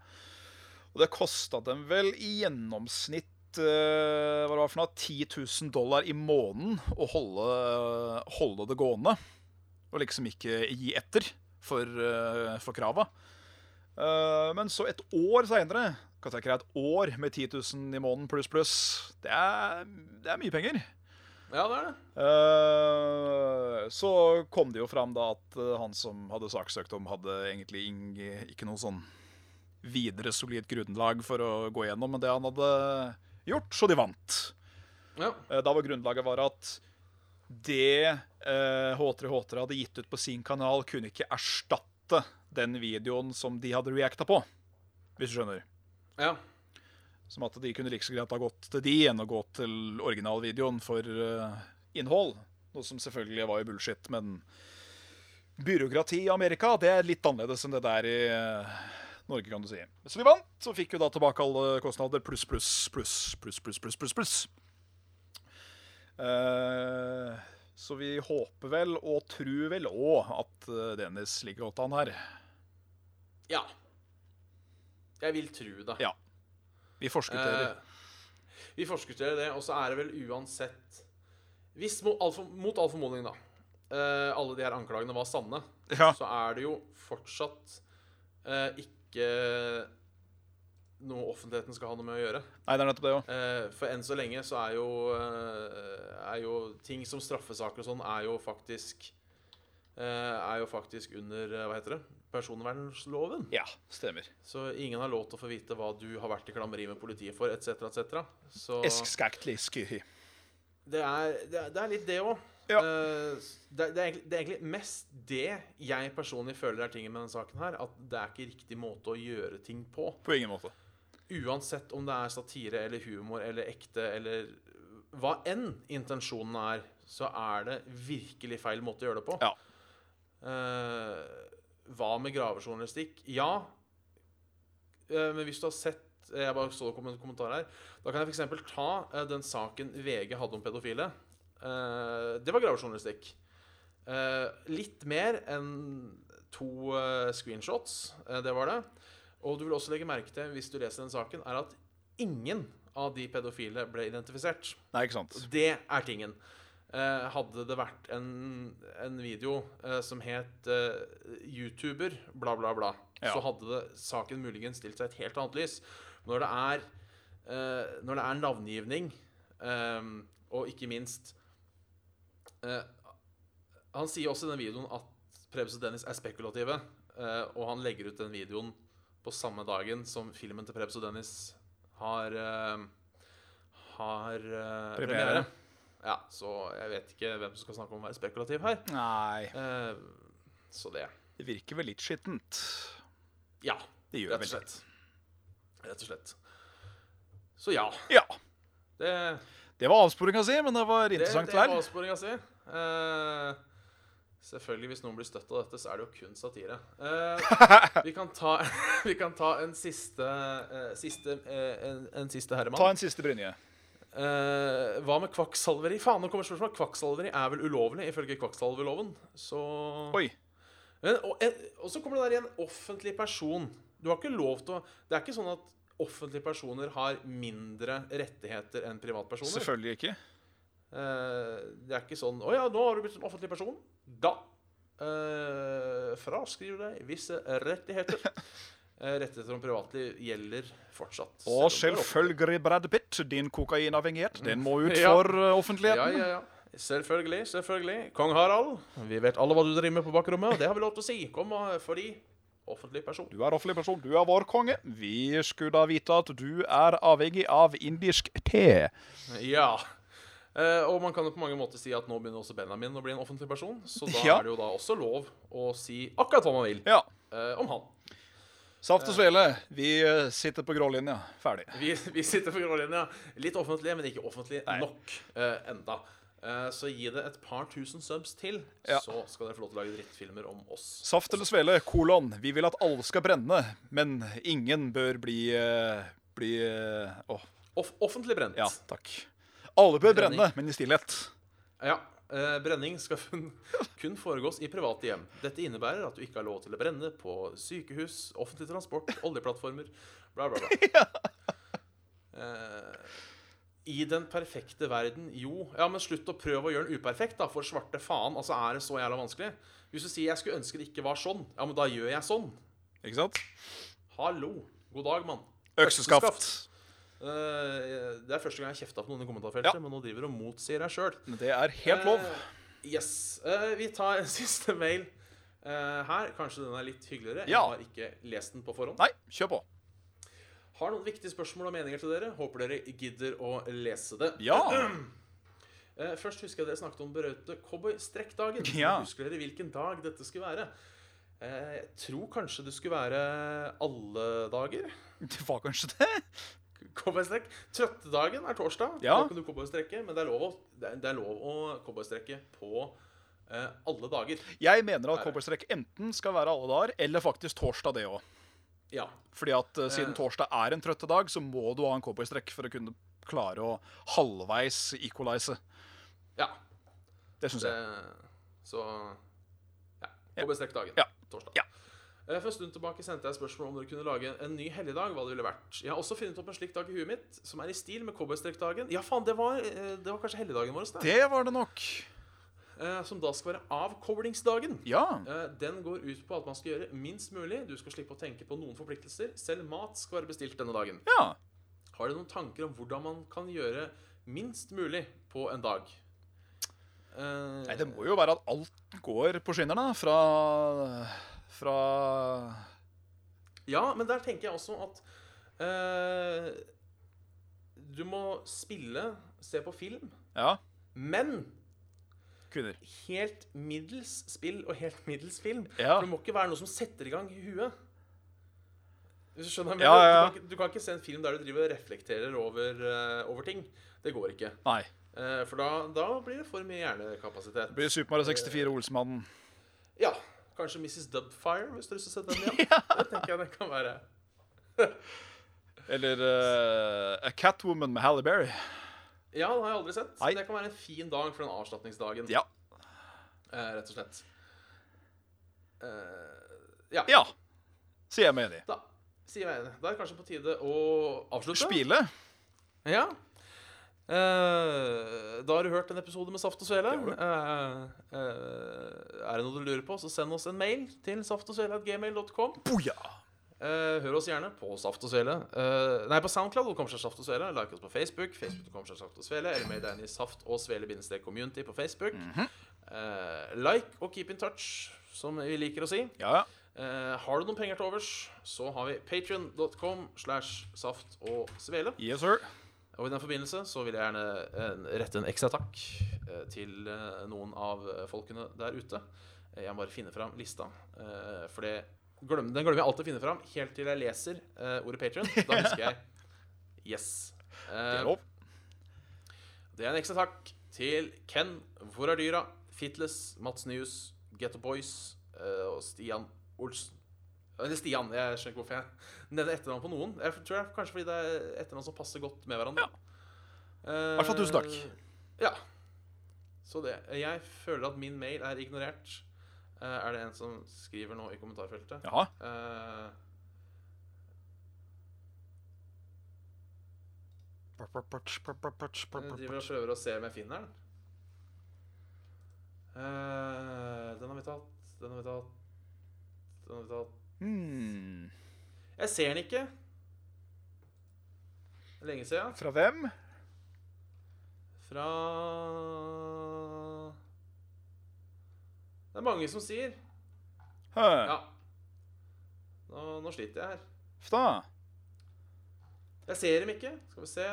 S2: Og det kosta dem vel i gjennomsnitt eh, hva det var for noe, 10 000 dollar i måneden å holde, eh, holde det gående. Og liksom ikke gi etter for, eh, for krava. Eh, men så et år seinere kan jeg ikke et år med 10 000 i måneden pluss, pluss. Det er, det er mye penger.
S1: ja, det er det.
S2: Eh, så kom det jo fram da at eh, han som hadde saksøkt om, hadde egentlig ing, ikke noe sånn videre solid grunnlag for å gå gjennom med det han hadde gjort, så de vant.
S1: Ja.
S2: Eh, Da var grunnlaget var at det eh, H3H3 hadde gitt ut på sin kanal, kunne ikke erstatte den videoen som de hadde reacta på, hvis du skjønner.
S1: ja.
S2: Som at de kunne like så greit ha gått til de enn å gå til originalvideoen for eh, innhold. Noe som selvfølgelig var jo bullshit, men byråkrati i Amerika det er litt annerledes enn det der i eh, Norge, kan du si. Så de vant, og fikk jo da tilbake alle kostnader pluss, pluss, pluss, pluss, pluss, pluss, pluss, pluss. Eh, så vi håper vel, og tror vel òg, at eh, Dennis ligger godt an her.
S1: ja. Jeg vil tro det.
S2: Ja. Vi forskutterer.
S1: Eh, vi forskutterer det, og så er det vel uansett Hvis mo- all for- mot all formodning, da, eh, alle de her anklagene var sanne,
S2: ja.
S1: så er det jo fortsatt eh, ikke noe offentligheten skal ha noe med å gjøre.
S2: Nei, det er nettopp det òg.
S1: Eh, for enn så lenge så er jo, eh, er jo ting som straffesaker og sånn, er jo faktisk eh, Er jo faktisk under eh, Hva heter det? Personvernloven.
S2: Ja, stemmer.
S1: Så ingen har lov til å få vite hva du har vært i klammeri med politiet for, etc., etc. Så
S2: Eskskaktlig sky.
S1: det er, det er, det er litt det òg.
S2: Ja.
S1: det, det, er egentlig- det er egentlig mest det jeg personlig føler er tingen med denne saken. her At det er ikke riktig måte å gjøre ting på.
S2: På ingen måte.
S1: Uansett om det er satire eller humor eller ekte eller hva enn intensjonen er, så er det virkelig feil måte å gjøre det på.
S2: Ja.
S1: Eh, hva med gravejournalistikk? Ja, eh, men hvis du har sett eh, Jeg bare så det kom en kommentar her. Da kan jeg f.eks. ta eh, den saken VG hadde om pedofile. Eh, det var gravejournalistikk. Eh, litt mer enn to eh, screenshots. eh, det var det. Og du vil også legge merke til hvis du leser den saken, er at ingen av de pedofile ble identifisert.
S2: Nei, ikke sant.
S1: Det er tingen. Eh, hadde det vært en, en video eh, som het eh, 'YouTuber', bla, bla, bla,
S2: Ja.
S1: så hadde det, saken muligens stilt seg i et helt annet lys. Når det er, eh, når det er navngivning, ehm, og ikke minst eh, Han sier også i den videoen at Prebz og Dennis er spekulative, eh, og han legger ut den videoen på samme dagen som filmen til Prebz og Dennis har ehm, har eh,
S2: Premiere.
S1: premiere. Ja, så jeg vet ikke hvem som skal snakke om å være spekulativ her.
S2: Nei.
S1: Eh, så det
S2: Det virker vel litt skittent.
S1: Ja.
S2: Det gjør
S1: Rett og
S2: vel
S1: slett. Rett og slett. Så ja.
S2: Ja.
S1: Det,
S2: Det var avsporinga si, men det var
S1: det, det
S2: interessant
S1: var
S2: likevel.
S1: avsporinga si. Eh, selvfølgelig, hvis noen blir støtt av dette, så er det jo kun satire. Eh, vi, kan ta, vi kan ta en siste, eh, siste eh, en, en siste herremann.
S2: Ta en siste brynje.
S1: Eh, hva med kvakksalveri? Faen, nå kommer spørsmålet. Kvakksalveri er vel ulovlig ifølge kvakksalverloven, så
S2: Oi.
S1: Men, og, en, og så kommer det der igjen. Offentlig person. Du har ikke lov til å Det er ikke sånn at offentlige personer har mindre rettigheter enn privatpersoner.
S2: Selvfølgelig ikke.
S1: Eh, det er ikke sånn 'Å ja, nå har du blitt en offentlig person.' Da eh, fraskriver du deg visse rettigheter. Eh, Rettigheter om privatliv gjelder fortsatt. selv om
S2: Og
S1: det er opp-
S2: selvfølgelig, Brad Pitt, din kokainavhengighet, den må ut
S1: Ja.
S2: for eh,
S1: Ja,
S2: offentligheten.
S1: ja, ja. Selvfølgelig, selvfølgelig. Kong Harald, vi vet alle hva du driver med på bakrommet, og det har vi lov til å si. Kom og fordi offentlig person.
S2: Du er offentlig person, du er vår konge. Vi skulle da vite at du er avhengig av indisk te.
S1: Ja. Eh, og man kan jo på mange måter si at nå begynner også Benjamin å bli en offentlig person, så da
S2: Ja.
S1: er det jo da også lov å si akkurat hva man vil
S2: Ja.
S1: eh, om han.
S2: Saft og svele. Vi eh, sitter på grålinja. Ferdig.
S1: Vi, vi sitter for grålinja. Litt offentlig, men ikke offentlig
S2: Nei.
S1: nok eh, enda. Eh, så gi det et par tusen subs til,
S2: Ja.
S1: så skal dere få lov til å lage drittfilmer om oss.
S2: Saft eller svele, kolon. Vi vil at alle skal brenne, men ingen bør bli eh, bli eh, Åh,
S1: Off offentlig brent.
S2: ja, takk. Alle bør
S1: Brenning.
S2: brenne, men i stillhet.
S1: Ja, eh, Brenning skal kun, kun foregås i private hjem. Dette innebærer at du ikke har lov til å brenne på sykehus, offentlig transport, oljeplattformer, bla, bla, bla. Eh, I den perfekte verden, jo Ja, men slutt å prøve å gjøre den uperfekt, da, for svarte faen. Altså, er det så jævla vanskelig? Hvis du sier 'jeg skulle ønske det ikke var sånn', ja, men da gjør jeg sånn.
S2: Ikke sant?
S1: Hallo. God dag, mann.
S2: Økseskaft.
S1: Eh, det er første gang jeg kjefta på noen i kommentarfeltet,
S2: Ja.
S1: men nå driver du og motsier deg sjøl.
S2: Men Det er helt lov.
S1: Eh, yes. Eh, vi tar en siste mail eh, her. Kanskje den er litt hyggeligere. Jeg
S2: Ja.
S1: har ikke lest den på forhånd.
S2: Nei, kjør på.
S1: Har noen viktige spørsmål og meninger til dere. Håper dere gidder å lese det.
S2: Ja.
S1: Eh, først husker jeg dere snakket om berømte cowboystrekkdagen.
S2: Ja.
S1: Husker dere hvilken dag dette skulle være? Eh, jeg tror kanskje det skulle være alle dager.
S2: Det var kanskje det?
S1: Cowboystrekk. Trøttedagen er torsdag.
S2: Ja.
S1: Da kan du cowboystrekke. Men det er lov å, det er- det er lov å cowboystrekke på eh, alle dager.
S2: Jeg mener at cowboystrekk enten skal være alle dager, eller faktisk torsdag, det òg.
S1: Ja.
S2: Fordi at eh, siden
S1: Eh.
S2: torsdag er en trøtte dag, så må du ha en cowboystrekk for å kunne klare å halvveis equalize.
S1: ja.
S2: Det syns jeg.
S1: Det, Eh, så ja. På bestekk dagen.
S2: Ja.
S1: Torsdag.
S2: Ja.
S1: Eh, For en stund tilbake sendte jeg spørsmål om dere kunne lage en ny helligdag. hva det ville vært. Jeg har også funnet opp en slik dag i huet mitt, som er i stil med cowboystrekkdagen. Ja, faen, det var, eh, det var kanskje helligdagen vår, det.
S2: Det var det nok.
S1: Eh, som da skal være avkoblingsdagen.
S2: Ja.
S1: Eh, Den går ut på at man skal gjøre minst mulig. Du skal slippe å tenke på noen forpliktelser. Selv mat skal være bestilt denne dagen.
S2: Ja.
S1: Har dere noen tanker om hvordan man kan gjøre minst mulig på en dag? Eh,
S2: Nei, det må jo være at alt går på skinner, da. Fra Fra
S1: Ja, men der tenker jeg også at eh, Du må spille, se på film,
S2: Ja,
S1: men
S2: kvinner.
S1: helt middels spill og helt middels film.
S2: Ja.
S1: For det må ikke være noe som setter i gang i huet. Hvis du skjønner hva jeg
S2: Ja,
S1: mener?
S2: ja, ja.
S1: Du, kan ikke, du kan ikke se en film der du driver og reflekterer over, eh, over ting. Det går ikke.
S2: Nei.
S1: Eh, for da, da blir det for mye hjernekapasitet.
S2: Det blir Super Mario 64 Olsmannen.
S1: Ja, kanskje Mrs. Dubfire, hvis du har lyst til å se den igjen. Det tenker jeg det kan være.
S2: Eller eh, A Catwoman med Halle Berry.
S1: Ja, den har jeg aldri sett.
S2: Nei.
S1: Det kan være en fin dag for den avslapningsdagen.
S2: Ja.
S1: Eh, rett og slett. Eh, ja.
S2: Ja. Sier jeg meg enig.
S1: Da sier jeg det. Da er det kanskje på tide å avslutte.
S2: Spile.
S1: Ja. Eh, da har du hørt en episode med Saft og Svele.
S2: Det har du.
S1: Eh, eh, er det noe du lurer på, så send oss en mail til saftogsvele.gmail.com.
S2: Boja.
S1: Eh, hør oss gjerne på Saft og Svele. Eh, nei, på SoundCloud kommer seg Saft og Svele. Like oss på Facebook. Facebook kommer seg Saft og Svele. Eller mer deg inn i Saft og Svele-community på Facebook. Eh, like og keep in touch, som vi liker å si.
S2: Ja, ja.
S1: Eh, har du noen penger til overs, så har vi patrion.com slash saft og svele.
S2: Yes, sir.
S1: Og i den forbindelse så vil jeg gjerne eh, rette en ekstra takk eh, til eh, noen av eh, folkene der ute. Eh, Jeg må bare finne fram lista. eh, For det glem, den glemmer jeg alltid å finne fram, helt til jeg leser eh, ordet Patrion. Da husker jeg Yes.
S2: Det
S1: Eh,
S2: er lov.
S1: Det er en ekstra takk til Ken, Hvor er dyra? Fitles, Mats Nyhus, Getto Boys eh, og Stian Olsen. Eller Stian, jeg skjønner ikke hvorfor jeg nevner etternavn på noen. Jeg tror jeg, Kanskje fordi det er etternavn som passer godt med hverandre. Eh,
S2: Hvert fall tusen takk.
S1: Ja. Så det. Jeg føler at min mail er ignorert. Eh, er det en som skriver nå i kommentarfeltet?
S2: Jaha.
S1: Eh, Jeg driver og prøver å se om jeg finner den. Eh, den har vi tatt, den har vi tatt Den har vi tatt
S2: Hmm.
S1: Jeg ser den ikke. Det er Lenge siden.
S2: Fra hvem?
S1: Fra Det er mange som sier.
S2: Hæ?
S1: Ja. Nå, nå sliter jeg her.
S2: Uff da.
S1: Jeg ser dem ikke. Skal vi se.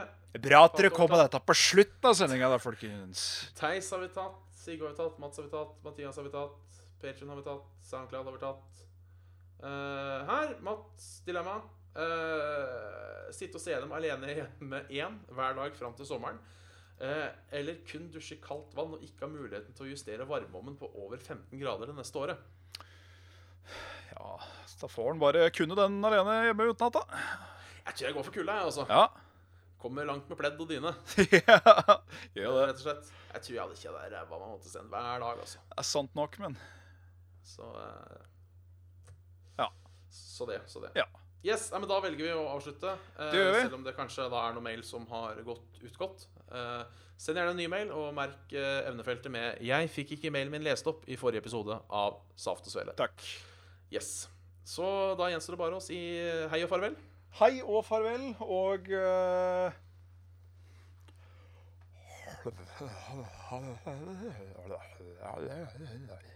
S2: Bra at dere kom med dette på slutten av sendinga, da, folkens.
S1: Theis har vi tatt. Sigurd har vi tatt. Mats har vi tatt. Mathias har vi tatt. Patron har vi tatt. SoundCloud har vi tatt. Eh, her. Mats dilemma. Eh, sitte og se dem alene hjemme én hver dag fram til sommeren. Eh, eller kun dusje i kaldt vann og ikke ha muligheten til å justere varmeovnen på over 15 grader det neste året.
S2: Ja, så da får han bare kunne den alene hjemme utenat, da.
S1: Jeg tror jeg går for kulda, jeg, altså.
S2: Ja.
S1: Kommer langt med pledd og dyne.
S2: ja. Gjør det.
S1: Rett og slett. Jeg tror jeg hadde kjeda ræva meg mot stedet hver dag, altså.
S2: Det er sant nok, men
S1: Så eh,
S2: Ja.
S1: Så det. Så det.
S2: Ja.
S1: Yes, nei, men Da velger vi å avslutte. eh,
S2: Det gjør vi.
S1: Selv om det kanskje da er noen mail som har gått utgått. Eh, send gjerne en ny mail, og merk eh, evnefeltet med 'Jeg fikk ikke mailen min lest opp' i forrige episode av Saft og Svele.
S2: takk.
S1: Yes. Så da gjenstår det bare å si eh, hei og farvel.
S2: Hei og farvel, og eh, eh,